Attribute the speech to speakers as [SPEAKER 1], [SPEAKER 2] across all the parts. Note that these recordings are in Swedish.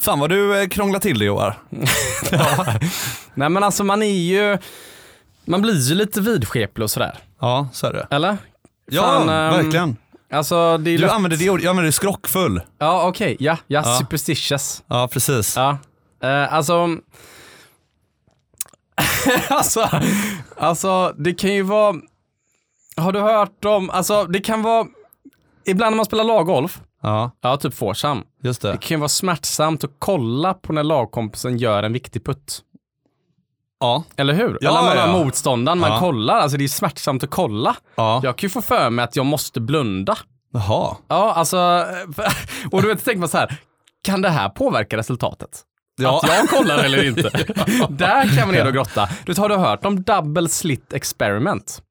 [SPEAKER 1] Fan vad du eh, krånglar till det Joar.
[SPEAKER 2] Nej men alltså man är ju, man blir ju lite vidskeplig och sådär.
[SPEAKER 1] Ja, så är det.
[SPEAKER 2] Eller?
[SPEAKER 1] Ja,
[SPEAKER 2] Fan, ehm,
[SPEAKER 1] verkligen.
[SPEAKER 2] Alltså det
[SPEAKER 1] Du
[SPEAKER 2] är lätt-
[SPEAKER 1] använder det ordet, jag använder skrockfull.
[SPEAKER 2] Ja okej, ja, ja,
[SPEAKER 1] Ja.
[SPEAKER 2] superstitious.
[SPEAKER 1] Ja, precis.
[SPEAKER 2] Ja. Eh, alltså, alltså, alltså det kan ju vara, har du hört om, alltså det kan vara, ibland när man spelar laggolf,
[SPEAKER 1] Ja,
[SPEAKER 2] ja typ foursam,
[SPEAKER 1] just
[SPEAKER 2] det
[SPEAKER 1] det.
[SPEAKER 2] kan ju vara smärtsamt att kolla på när lagkompisen gör en viktig putt.
[SPEAKER 1] Ja,
[SPEAKER 2] Eller hur?
[SPEAKER 1] Ja,
[SPEAKER 2] Eller man
[SPEAKER 1] ja,
[SPEAKER 2] har
[SPEAKER 1] ja.
[SPEAKER 2] motståndaren, man
[SPEAKER 1] Ja.
[SPEAKER 2] kollar, alltså det är smärtsamt att kolla.
[SPEAKER 1] ja.
[SPEAKER 2] Jag kan ju få för mig att jag måste blunda.
[SPEAKER 1] Jaha.
[SPEAKER 2] Ja, alltså, och du vet, tänker man så här, kan det här påverka resultatet?
[SPEAKER 1] Ja.
[SPEAKER 2] Att jag kollar eller inte. Där kan man ner och grotta. Du, har du hört om double slit experiment?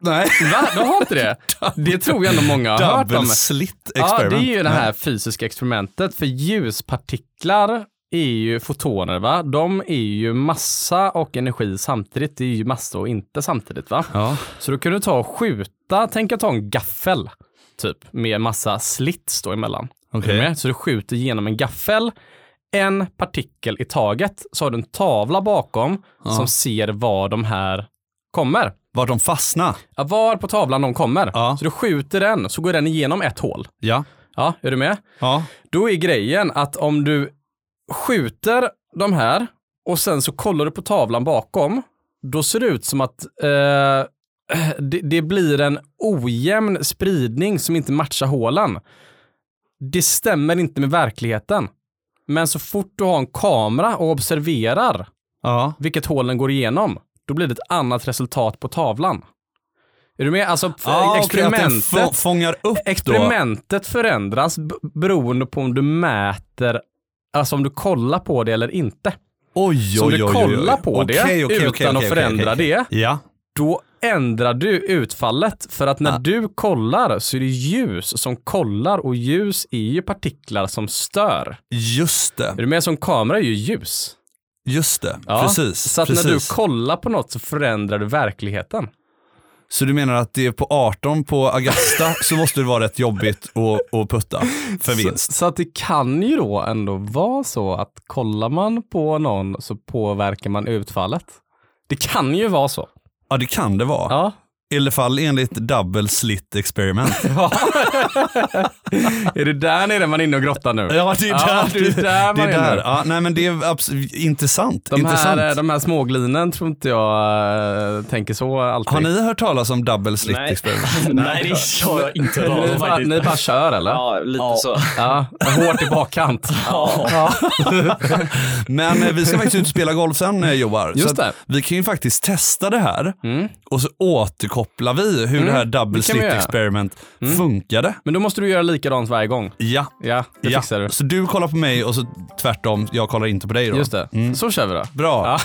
[SPEAKER 1] Nej.
[SPEAKER 2] Va? Du har inte det? Det tror jag ändå många har hört om.
[SPEAKER 1] Double slit experiment.
[SPEAKER 2] Ja, det är ju det här fysiska experimentet. För ljuspartiklar är ju fotoner, va? De är ju massa och energi samtidigt. Det är ju massa och inte samtidigt, va?
[SPEAKER 1] Ja.
[SPEAKER 2] Så då kan du ta och skjuta, tänk att ta en gaffel, typ, med massa slits då emellan.
[SPEAKER 1] Okej.
[SPEAKER 2] Är du med? Så du skjuter genom en gaffel, en partikel i taget, så har du en tavla bakom som ser var de här kommer.
[SPEAKER 1] Vart de fastnar.
[SPEAKER 2] Ja, var på tavlan de kommer.
[SPEAKER 1] Ja.
[SPEAKER 2] Så du skjuter den, så går den igenom ett hål.
[SPEAKER 1] Ja.
[SPEAKER 2] Ja, är du med?
[SPEAKER 1] Ja.
[SPEAKER 2] Då är grejen att om du skjuter de här och sen så kollar du på tavlan bakom, då ser det ut som att eh, det, det blir en ojämn spridning som inte matchar hålen. Det stämmer inte med verkligheten. Men så fort du har en kamera och observerar
[SPEAKER 1] Ja.
[SPEAKER 2] vilket hål den går igenom, då blir det ett annat resultat på tavlan. Är du med? Alltså
[SPEAKER 1] Ah,
[SPEAKER 2] experimentet.
[SPEAKER 1] Okej, att den få- fångar upp då.
[SPEAKER 2] Experimentet förändras b- beroende på om du mäter, alltså om du kollar på det eller inte.
[SPEAKER 1] Oj,
[SPEAKER 2] Så om
[SPEAKER 1] oj,
[SPEAKER 2] du
[SPEAKER 1] oj, oj,
[SPEAKER 2] kollar på
[SPEAKER 1] Okej,
[SPEAKER 2] det
[SPEAKER 1] okej, okej,
[SPEAKER 2] utan
[SPEAKER 1] okej,
[SPEAKER 2] att
[SPEAKER 1] okej,
[SPEAKER 2] förändra
[SPEAKER 1] okej.
[SPEAKER 2] det,
[SPEAKER 1] Ja.
[SPEAKER 2] då ändrar du utfallet. För att när
[SPEAKER 1] Ah.
[SPEAKER 2] du kollar så är det ljus som kollar och ljus är ju partiklar som stör.
[SPEAKER 1] Just
[SPEAKER 2] Är
[SPEAKER 1] det.
[SPEAKER 2] du med? Som kamera är ju ljus.
[SPEAKER 1] Just det.
[SPEAKER 2] Ja,
[SPEAKER 1] Precis.
[SPEAKER 2] Så att
[SPEAKER 1] precis.
[SPEAKER 2] när du kollar på något så förändrar du verkligheten.
[SPEAKER 1] Så du menar att det är på 18 på Agasta så måste det vara rätt jobbigt att, att putta för vinst?
[SPEAKER 2] Så, så att det kan ju då ändå vara så att kollar man på någon så påverkar man utfallet. Det kan ju vara så.
[SPEAKER 1] Ja, det kan det vara.
[SPEAKER 2] Ja.
[SPEAKER 1] I alla fall enligt double slit experiment.
[SPEAKER 2] är det där nere man är inne och grottar nu?
[SPEAKER 1] Ja, det är
[SPEAKER 2] Ja,
[SPEAKER 1] där.
[SPEAKER 2] det är där
[SPEAKER 1] det
[SPEAKER 2] man
[SPEAKER 1] är
[SPEAKER 2] är
[SPEAKER 1] där.
[SPEAKER 2] nu.
[SPEAKER 1] Ja, nej, men det är abs- intressant.
[SPEAKER 2] De
[SPEAKER 1] intressant.
[SPEAKER 2] här, eh, de här småglinen tror inte jag eh, tänker så alltid.
[SPEAKER 1] Har ni hört talas om double slit
[SPEAKER 3] Nej.
[SPEAKER 1] experiment?
[SPEAKER 3] Nej, det har jag inte hört
[SPEAKER 2] ni,
[SPEAKER 3] om
[SPEAKER 2] bara, ni
[SPEAKER 3] faktiskt.
[SPEAKER 2] bara kör eller? Ja.
[SPEAKER 3] Ja, lite så.
[SPEAKER 2] Hårt i bakkant.
[SPEAKER 3] Ja.
[SPEAKER 1] Men eh, vi ska faktiskt ut och spela golf sen eh, Joar.
[SPEAKER 2] Just
[SPEAKER 1] så att
[SPEAKER 2] det. Mm.
[SPEAKER 1] Vi kan ju faktiskt testa det här och så återkopplar vi hur det här double
[SPEAKER 2] det kan vi
[SPEAKER 1] slit
[SPEAKER 2] göra. Mm.
[SPEAKER 1] experiment funkade.
[SPEAKER 2] Men då måste du göra likadant varje gång.
[SPEAKER 1] Ja.
[SPEAKER 2] Ja, det
[SPEAKER 1] ja.
[SPEAKER 2] fixar du.
[SPEAKER 1] Så du kollar på mig och så tvärtom, jag kollar inte på dig då.
[SPEAKER 2] Just det. Så kör vi då.
[SPEAKER 1] Mm. Bra.
[SPEAKER 2] Ja.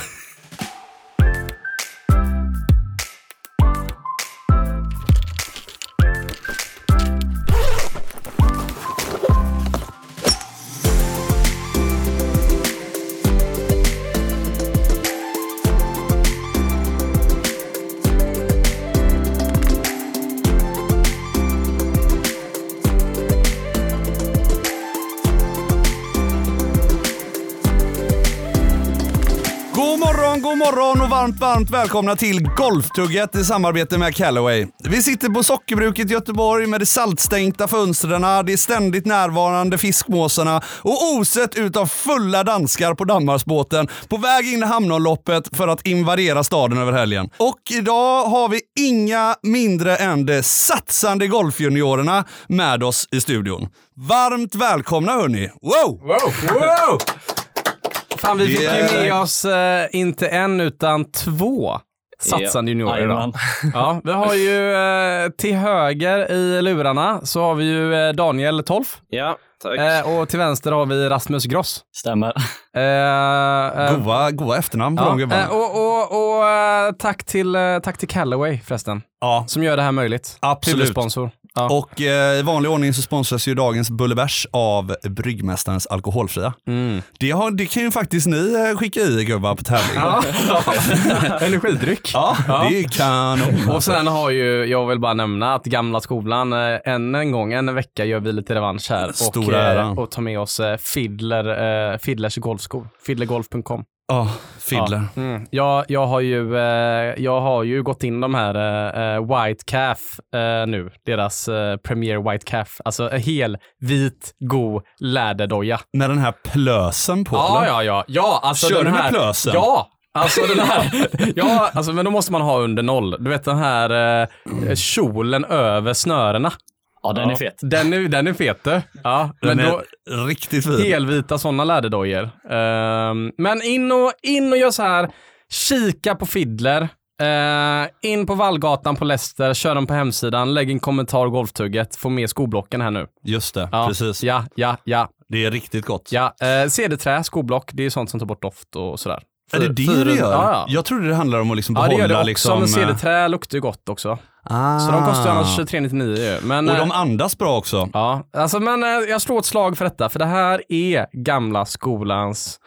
[SPEAKER 1] God morgon, god morgon och varmt, varmt välkomna till Golftugget i samarbete med Callaway. Vi sitter på Sockerbruket i Göteborg med de saltstänkta fönstren, de ständigt närvarande fiskmåsarna och oset utav fulla danskar på Danmarksbåten på väg in i hamnomloppet för att invadera staden över helgen. Och idag har vi inga mindre än de satsande golfjuniorerna med oss i studion. Varmt välkomna hörni! Wow!
[SPEAKER 2] Wow! Fan, vi fick
[SPEAKER 1] Yeah.
[SPEAKER 2] ju med oss eh, inte en utan två satsande juniorer idag.
[SPEAKER 3] Jajamän.
[SPEAKER 2] Ja, vi har ju eh, till höger i lurarna så har vi ju eh, Daniel Tolf
[SPEAKER 3] Ja, tack.
[SPEAKER 2] eh, och till vänster har vi Rasmus Gross.
[SPEAKER 3] Stämmer.
[SPEAKER 2] Eh, eh,
[SPEAKER 1] Goa, goa efternamn på de
[SPEAKER 2] ja,
[SPEAKER 1] gubbarna.
[SPEAKER 2] eh, och och, och eh, tack, till, eh, tack till Callaway förresten,
[SPEAKER 1] Ja,
[SPEAKER 2] som gör det här möjligt.
[SPEAKER 1] Absolut.
[SPEAKER 2] Huvudsponsor. Ja.
[SPEAKER 1] Och eh, i vanlig ordning så sponsras ju dagens Bullebärs av Bryggmästarens Alkoholfria.
[SPEAKER 2] Mm.
[SPEAKER 1] Det, har, det kan ju faktiskt ni eh, skicka i gubbar på tävling. Ja.
[SPEAKER 2] Energidryck.
[SPEAKER 1] Det är kanon.
[SPEAKER 2] Och sen har ju, jag vill bara nämna att gamla skolan, eh, än en gång, en vecka gör vi lite revansch här. och,
[SPEAKER 1] Stora
[SPEAKER 2] eh,
[SPEAKER 1] äran.
[SPEAKER 2] och tar med oss eh, Fiddler, eh, Fiddlers golfskor. Fiddlergolf.com.
[SPEAKER 1] Ja, Fiddler.
[SPEAKER 2] Ja. Mm. Jag, jag, har ju, eh, jag har ju gått in de här eh, eh, White Calf eh, nu. Deras eh, Premier White Calf. Alltså en hel, vit, god läderdoja.
[SPEAKER 1] Med den här plösen på.
[SPEAKER 2] Ja,
[SPEAKER 1] eller?
[SPEAKER 2] ja, ja. ja alltså
[SPEAKER 1] Kör
[SPEAKER 2] den
[SPEAKER 1] du med
[SPEAKER 2] här,
[SPEAKER 1] plösen?
[SPEAKER 2] Ja. Alltså den här, ja, alltså, men då måste man ha under noll. Du vet den här eh, kjolen över snörena.
[SPEAKER 3] Ja, den är fet.
[SPEAKER 2] Den är, den är fet du. Ja,
[SPEAKER 1] Den
[SPEAKER 2] men då,
[SPEAKER 1] är riktigt fin.
[SPEAKER 2] helvita sådana läderdojor. Ehm, men in och, in och gör så här. Kika på Fiddler. Eh, in på Vallgatan på Leicester, kör dem på hemsidan, lägg en kommentar golftugget, få med skoblocken här nu.
[SPEAKER 1] Just det,
[SPEAKER 2] Ja,
[SPEAKER 1] precis.
[SPEAKER 2] ja, ja, ja.
[SPEAKER 1] Det är riktigt gott.
[SPEAKER 2] ja. Eh, CD-trä, skoblock, det är sånt som tar bort doft och sådär.
[SPEAKER 1] Är det det
[SPEAKER 2] Fyren-
[SPEAKER 1] du gör?
[SPEAKER 2] Ja, ja.
[SPEAKER 1] Jag trodde det handlade om att liksom
[SPEAKER 2] ja
[SPEAKER 1] behålla
[SPEAKER 2] det gör det också,
[SPEAKER 1] liksom...
[SPEAKER 2] men
[SPEAKER 1] eh,
[SPEAKER 2] CD-trä luktar ju gott också.
[SPEAKER 1] ah.
[SPEAKER 2] Så de kostar ju annars 23,99 ju. Men,
[SPEAKER 1] Och
[SPEAKER 2] eh,
[SPEAKER 1] de andas bra också.
[SPEAKER 2] Ja, alltså men eh, jag slår ett slag för detta, för det här är gamla skolans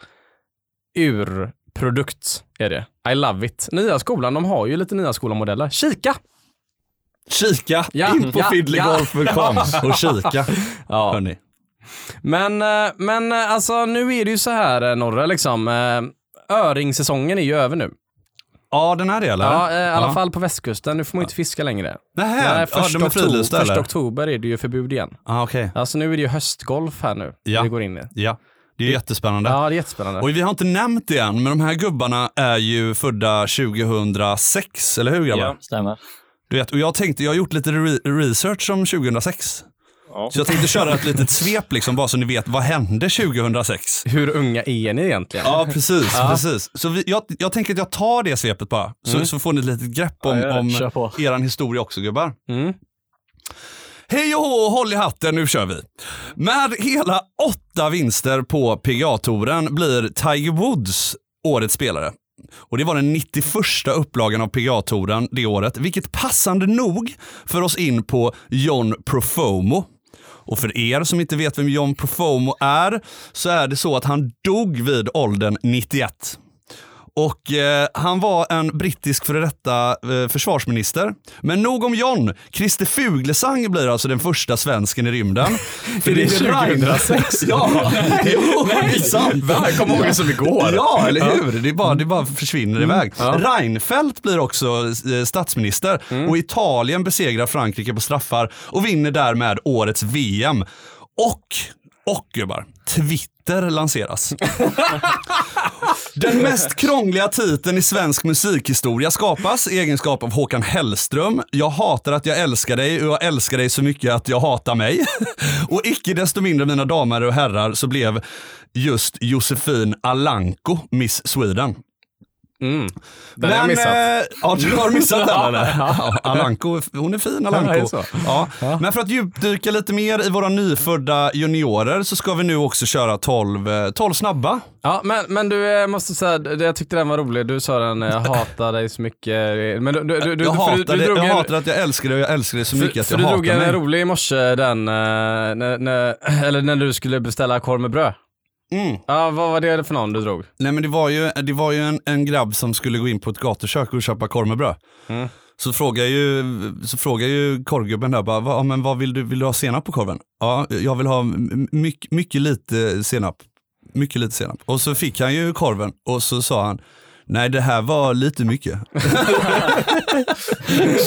[SPEAKER 2] urprodukt. Är det. I love it. Nya skolan, de har ju lite nya skolan-modeller. Kika!
[SPEAKER 1] Kika
[SPEAKER 2] Ja,
[SPEAKER 1] in på
[SPEAKER 2] ja,
[SPEAKER 1] fiddlergolf.com och kika.
[SPEAKER 2] Ja.
[SPEAKER 1] Hörni.
[SPEAKER 2] Men, eh, men eh, alltså nu är det ju så här eh, Norre, liksom. eh, Öringssäsongen är ju över nu.
[SPEAKER 1] Ja, den här delen.
[SPEAKER 2] Ja, eh, i alla
[SPEAKER 1] Ja.
[SPEAKER 2] fall på västkusten. Nu får man ju inte fiska längre.
[SPEAKER 1] Nähä,
[SPEAKER 2] Nej,
[SPEAKER 1] ja,
[SPEAKER 2] första,
[SPEAKER 1] de är fridlysta
[SPEAKER 2] oktober, första
[SPEAKER 1] eller?
[SPEAKER 2] oktober är det ju förbud igen.
[SPEAKER 1] Ja, okej.
[SPEAKER 2] Alltså nu är det ju höstgolf här nu.
[SPEAKER 1] Ja.
[SPEAKER 2] Vi går in i.
[SPEAKER 1] Ja, det är jättespännande.
[SPEAKER 2] Ja, det är jättespännande.
[SPEAKER 1] Och vi har inte nämnt det än, men de här gubbarna är ju födda 2006, eller hur grabbar?
[SPEAKER 3] Ja, stämmer.
[SPEAKER 1] Du vet, och jag tänkte, jag har gjort lite re- research om 2006.
[SPEAKER 3] Ja.
[SPEAKER 1] Så jag tänkte köra ett litet svep liksom, bara så ni vet, vad hände 2006?
[SPEAKER 2] Hur unga är ni egentligen?
[SPEAKER 1] Ja, precis. precis. Så vi, jag, jag tänker att jag tar det svepet bara, så, så får ni ett litet grepp om,
[SPEAKER 3] Ja, ja,
[SPEAKER 1] om
[SPEAKER 3] kör på.
[SPEAKER 1] er historia också gubbar.
[SPEAKER 2] Mm.
[SPEAKER 1] Hej och hå, håll i hatten, nu kör vi. Med hela åtta vinster på pga touren blir Tiger Woods årets spelare. Och det var den 91 upplagan av pga touren det året, vilket passande nog för oss in på John Profomo. Och för er som inte vet vem John Profomo är, så är det så att han dog vid åldern 91. Och eh, han var en brittisk före detta eh, försvarsminister. Men nog om John. Christer Fuglesang blir alltså den första svensken i rymden. För
[SPEAKER 2] Är det 2006?
[SPEAKER 1] ja, jo, det är sant.
[SPEAKER 2] Jag kommer ihåg det som igår.
[SPEAKER 1] Ja, eller hur? Det, är bara, det bara försvinner iväg. Reinfeldt blir också eh, statsminister och Italien besegrar Frankrike på straffar och vinner därmed årets VM. Och, och gubbar, Twitter lanseras. Den mest krångliga titeln i svensk musikhistoria skapas i egenskap av Håkan Hellström. Jag hatar att jag älskar dig och jag älskar dig så mycket att jag hatar mig. Och icke desto mindre mina damer och herrar så blev just Josefin Alanko Miss Sweden.
[SPEAKER 2] Mm. Den har jag missat.
[SPEAKER 1] eh, ja, du har missat den eller? Ja, Alanko, hon är fin
[SPEAKER 2] Ja, det är
[SPEAKER 1] Alanko.
[SPEAKER 2] så.
[SPEAKER 1] Ja. Men för att djupdyka lite mer i våra nyfödda juniorer så ska vi nu också köra 12, eh, 12 snabba.
[SPEAKER 2] Ja, men, men du, jag måste säga, det- jag tyckte den var rolig. Du sa den, eh, jag hatar dig så mycket. Men du, du, du, du,
[SPEAKER 1] jag,
[SPEAKER 2] för du,
[SPEAKER 1] hatar
[SPEAKER 2] du
[SPEAKER 1] det,
[SPEAKER 2] drog
[SPEAKER 1] jag
[SPEAKER 2] en-
[SPEAKER 1] hatar att jag älskar dig och jag älskar dig så mycket
[SPEAKER 2] för,
[SPEAKER 1] att
[SPEAKER 2] för
[SPEAKER 1] jag
[SPEAKER 2] du
[SPEAKER 1] hatar
[SPEAKER 2] drog en
[SPEAKER 1] mig.
[SPEAKER 2] rolig i morse, den, eh, när, när, eller när du skulle beställa korv med bröd.
[SPEAKER 1] Mm.
[SPEAKER 2] Ja, vad var det för någon du drog?
[SPEAKER 1] Nej men det var ju, det var ju en, en grabb som skulle gå in på ett gatukök och köpa korv med bröd.
[SPEAKER 2] Mm.
[SPEAKER 1] Så frågar ju, så frågar ju korvgubben där, bara, "Va- ja, men vad vill du, vill du ha senap på korven? Ja, jag vill ha m- mycket, mycket lite senap. Mycket lite senap. Och så fick han ju korven och så sa han, nej det här var lite mycket. ja, det,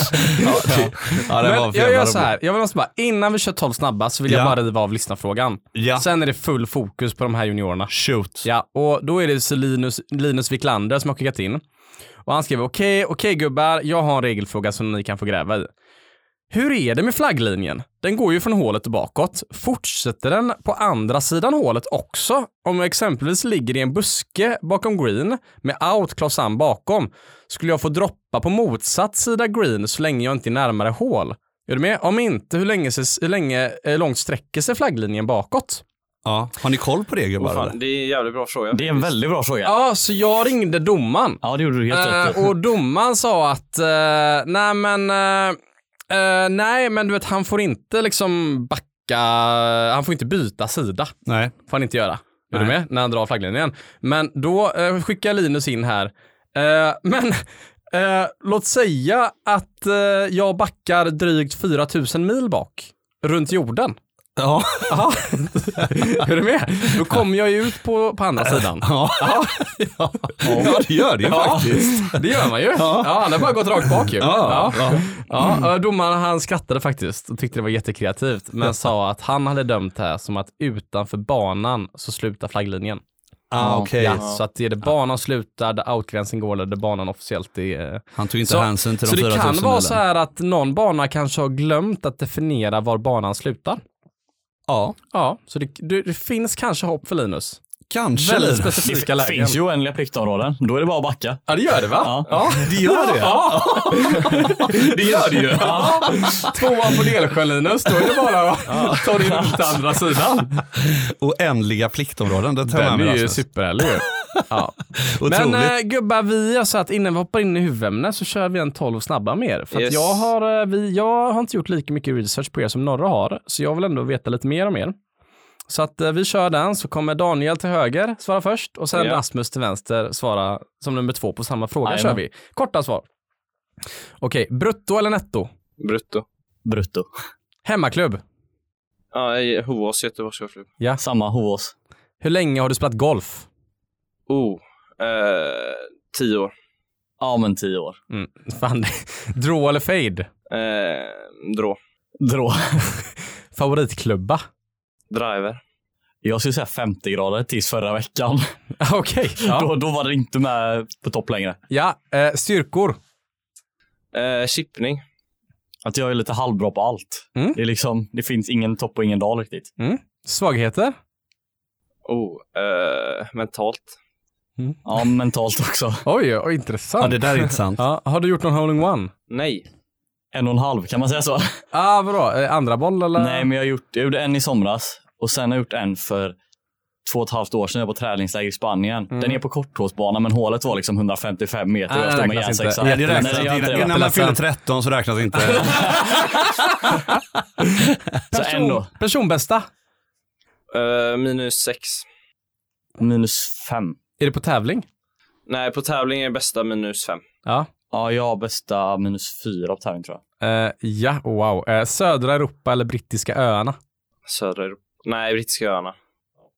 [SPEAKER 1] ja, det
[SPEAKER 2] Men
[SPEAKER 1] var för
[SPEAKER 2] jag
[SPEAKER 1] jävla
[SPEAKER 2] gör så
[SPEAKER 1] roligt.
[SPEAKER 2] här, jag vill också bara, innan vi kör 12 snabba så vill
[SPEAKER 1] Ja.
[SPEAKER 2] jag bara riva av lyssnarfrågan.
[SPEAKER 1] Ja.
[SPEAKER 2] Sen är det full fokus på de här juniorerna.
[SPEAKER 1] Shoot.
[SPEAKER 2] Ja, och då är det så Linus, Linus Wiklander som har skickat in. Och han skriver, okej, okej gubbar, jag har en regelfråga som ni kan få gräva i. Hur är det med flagglinjen? Den går ju från hålet och bakåt. Fortsätter den på andra sidan hålet också? Om jag exempelvis ligger i en buske bakom green med out Klausan bakom, skulle jag få droppa på motsatt sida green så länge jag inte är närmare hål? Är du med? Om inte, hur länge, hur länge eh, långt sträcker sig flagglinjen bakåt?
[SPEAKER 1] Ja. Har ni koll på det gubbar?
[SPEAKER 3] Åh,
[SPEAKER 1] eller?
[SPEAKER 3] fan, det är en jävligt bra fråga.
[SPEAKER 4] Det är en väldigt bra fråga.
[SPEAKER 2] Ja, så jag ringde domaren.
[SPEAKER 4] Ja, det gjorde du helt rätt i.
[SPEAKER 2] Eh, och domaren sa att, eh, nej men, eh, Eh, nej, men du vet, han får inte liksom backa, han får inte byta sida.
[SPEAKER 1] Nej.
[SPEAKER 2] får han inte göra. Är du
[SPEAKER 1] Nej.
[SPEAKER 2] med? När han drar flagglinjen. Men då eh, skickar Linus in här. Eh, men eh, låt säga att eh, jag backar drygt 4000 mil bak runt jorden.
[SPEAKER 1] Ja.
[SPEAKER 2] Ja, är du med? Då kommer jag ju ut på, på andra sidan.
[SPEAKER 1] Ja. ja. det gör det ju faktiskt.
[SPEAKER 2] Det gör man ju. Ja. han har bara gått rakt bak ju.
[SPEAKER 1] Ja.
[SPEAKER 2] Ja. Ja, eh, domaren han skrattade faktiskt och tyckte det var jättekreativt, men sa att han hade dömt det här som att utanför banan så slutar flagglinjen.
[SPEAKER 1] Ah, okej.
[SPEAKER 2] Ja, så att det är där banan slutar, där outgränsen går eller där banan officiellt är...
[SPEAKER 1] Han tog inte
[SPEAKER 2] Så-
[SPEAKER 1] hänsyn till
[SPEAKER 2] Så
[SPEAKER 1] de 4000
[SPEAKER 2] det kan vara
[SPEAKER 1] milen.
[SPEAKER 2] så här att någon bana kanske har glömt att definiera var banan slutar.
[SPEAKER 1] Ja,
[SPEAKER 2] Ja, så det, det, det finns kanske hopp för Linus.
[SPEAKER 1] kanske.
[SPEAKER 2] Väldigt
[SPEAKER 1] Linus.
[SPEAKER 2] specifika
[SPEAKER 3] Det
[SPEAKER 2] lägen.
[SPEAKER 3] finns ju oändliga pliktområden. Då är det bara att backa.
[SPEAKER 2] Ja, det gör det va?
[SPEAKER 3] Ja.
[SPEAKER 1] Det gör det.
[SPEAKER 3] Det gör det ju. Ja.
[SPEAKER 2] Tvåan på Delsjön Linus, då är det bara att ta dig runt andra sidan.
[SPEAKER 1] Oändliga pliktområden. Det tar jag
[SPEAKER 2] Den
[SPEAKER 1] med
[SPEAKER 2] är
[SPEAKER 1] mig
[SPEAKER 2] ju
[SPEAKER 1] Rasmus.
[SPEAKER 2] superhärlig ju. Ja. Men
[SPEAKER 1] Otroligt.
[SPEAKER 2] eh, gubbar, vi har så att innan vi hoppar in i huvudämnet så kör vi en 12 snabba med er. För att
[SPEAKER 3] Yes.
[SPEAKER 2] jag, har, eh, vi, jag har inte gjort lika mycket research på er som några har, så jag vill ändå veta lite mer om er. Så att eh, vi kör den, så kommer Daniel till höger svara först och sen
[SPEAKER 3] Ja.
[SPEAKER 2] Rasmus till vänster svara som nummer två på samma fråga
[SPEAKER 3] Jajamän.
[SPEAKER 2] kör vi. Korta svar. Okej, brutto eller netto?
[SPEAKER 4] Brutto.
[SPEAKER 3] Brutto.
[SPEAKER 2] Hemmaklubb.
[SPEAKER 4] Ja, i Hovås, Göteborgs golfklubb.
[SPEAKER 3] Samma Hovås.
[SPEAKER 2] Hur länge har du spelat golf?
[SPEAKER 4] Oh, eh, tio år.
[SPEAKER 3] Ja, men tio år.
[SPEAKER 2] Mm, fan. Draw eller fade?
[SPEAKER 4] Eh, drå.
[SPEAKER 3] Drå.
[SPEAKER 2] Favoritklubba?
[SPEAKER 4] Driver.
[SPEAKER 3] Jag skulle säga 50 grader tills förra veckan.
[SPEAKER 2] Okej. ja.
[SPEAKER 3] Då, då var det inte med på topp längre.
[SPEAKER 2] Ja, eh, styrkor.
[SPEAKER 4] Eh, chippning.
[SPEAKER 3] Att jag är lite halvbra på allt.
[SPEAKER 2] Mm.
[SPEAKER 3] Det, är liksom, det finns ingen topp och ingen dal riktigt.
[SPEAKER 2] Svagheter?
[SPEAKER 4] Oh, eh, mentalt.
[SPEAKER 3] Ja, mentalt också.
[SPEAKER 2] Oj, oj
[SPEAKER 1] ja,
[SPEAKER 2] intressant.
[SPEAKER 1] det där är intressant.
[SPEAKER 2] Ja, har du gjort någon hole in one?
[SPEAKER 4] Nej.
[SPEAKER 3] En och en halv, kan man säga så?
[SPEAKER 2] Ah, bra. Eh, Andra boll eller?
[SPEAKER 3] Nej, men jag, har gjort, jag gjorde en i somras och sen har jag gjort en för två och ett halvt år sedan. Jag var på träningsläger i Spanien. Den är på korthålsbana, men hålet var liksom 155 meter.
[SPEAKER 2] Mm. Nej,
[SPEAKER 3] jag
[SPEAKER 2] den
[SPEAKER 3] stod
[SPEAKER 2] räknas
[SPEAKER 3] med järnsexa.
[SPEAKER 1] Nej,
[SPEAKER 2] inte.
[SPEAKER 1] det
[SPEAKER 3] Nej,
[SPEAKER 1] räknas
[SPEAKER 3] jag har inte
[SPEAKER 1] inte.
[SPEAKER 3] det.
[SPEAKER 1] Innan man fyller
[SPEAKER 2] Jätteledsen.
[SPEAKER 1] 13 så räknas inte.
[SPEAKER 3] Så en då.
[SPEAKER 2] Personbästa?
[SPEAKER 4] Eh, minus sex.
[SPEAKER 3] Minus fem.
[SPEAKER 2] Är det på tävling?
[SPEAKER 4] Nej, på tävling är bästa minus fem.
[SPEAKER 2] Ja.
[SPEAKER 3] Ja, jag har bästa minus fyra på tävling tror jag.
[SPEAKER 2] Eh, ja, wow. Eh, södra Europa eller Brittiska öarna?
[SPEAKER 4] Södra Europa. Nej, Brittiska öarna.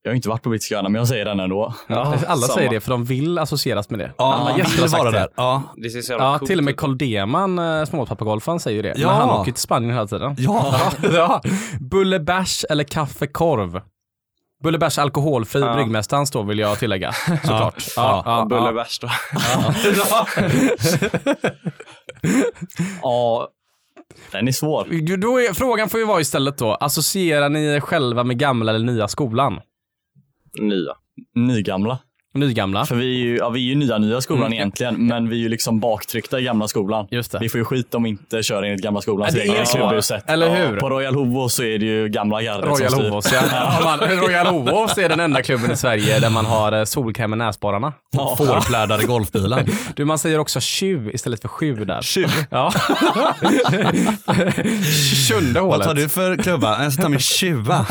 [SPEAKER 3] Jag har inte varit på Brittiska öarna, men jag säger den ändå.
[SPEAKER 4] Ja,
[SPEAKER 2] Eh, Alla
[SPEAKER 4] samma.
[SPEAKER 2] säger det för de vill associeras med det.
[SPEAKER 1] Ja,
[SPEAKER 2] Alla
[SPEAKER 1] man
[SPEAKER 2] gäster
[SPEAKER 1] vill
[SPEAKER 2] har sagt
[SPEAKER 1] vara
[SPEAKER 2] det.
[SPEAKER 1] där. Ja,
[SPEAKER 4] Det ser så jävla
[SPEAKER 2] Ja,
[SPEAKER 4] coolt
[SPEAKER 2] till och med
[SPEAKER 4] ut.
[SPEAKER 2] Carl Deman, eh, småpappagolfaren, säger ju det.
[SPEAKER 1] Ja.
[SPEAKER 2] Men han åker ju till Spanien hela tiden.
[SPEAKER 1] ja.
[SPEAKER 2] ja. Bullebärs eller kaffekorv? Bullebärs alkoholfri,
[SPEAKER 4] Ja.
[SPEAKER 2] bryggmästaren står vill jag tillägga. Såklart. Ja, ja,
[SPEAKER 4] Bulle
[SPEAKER 2] ja.
[SPEAKER 4] värst då.
[SPEAKER 3] Ja, den är svår.
[SPEAKER 2] Då är, frågan får ju vara istället då, associerar ni er själva med gamla eller nya skolan?
[SPEAKER 4] Nya.
[SPEAKER 3] Nygamla.
[SPEAKER 2] Nygamla?
[SPEAKER 3] För vi är ju, ja, vi är ju nya, nya skolan
[SPEAKER 2] Mm.
[SPEAKER 3] egentligen, men vi är ju liksom baktryckta i gamla skolan.
[SPEAKER 2] Just det.
[SPEAKER 3] Vi får ju skit om vi inte kör enligt gamla skolans
[SPEAKER 2] Ja, det är
[SPEAKER 3] regler i
[SPEAKER 2] så.
[SPEAKER 3] klubbhuset.
[SPEAKER 2] Eller hur?
[SPEAKER 3] På Royal Hovo så är det ju gamla gardet som
[SPEAKER 2] Royal
[SPEAKER 3] styr.
[SPEAKER 2] Hovås, ja. ja man, Royal Hovås är den enda klubben i Sverige där man har eh, solkräm i näsborrarna.
[SPEAKER 1] Fårplädar i golfbilen.
[SPEAKER 2] Du, man säger också tju istället för sju där.
[SPEAKER 1] Tjuv.
[SPEAKER 2] Ja. Sjunde hålet.
[SPEAKER 1] Vad tar du för klubba? Jag ska ta min tjuva.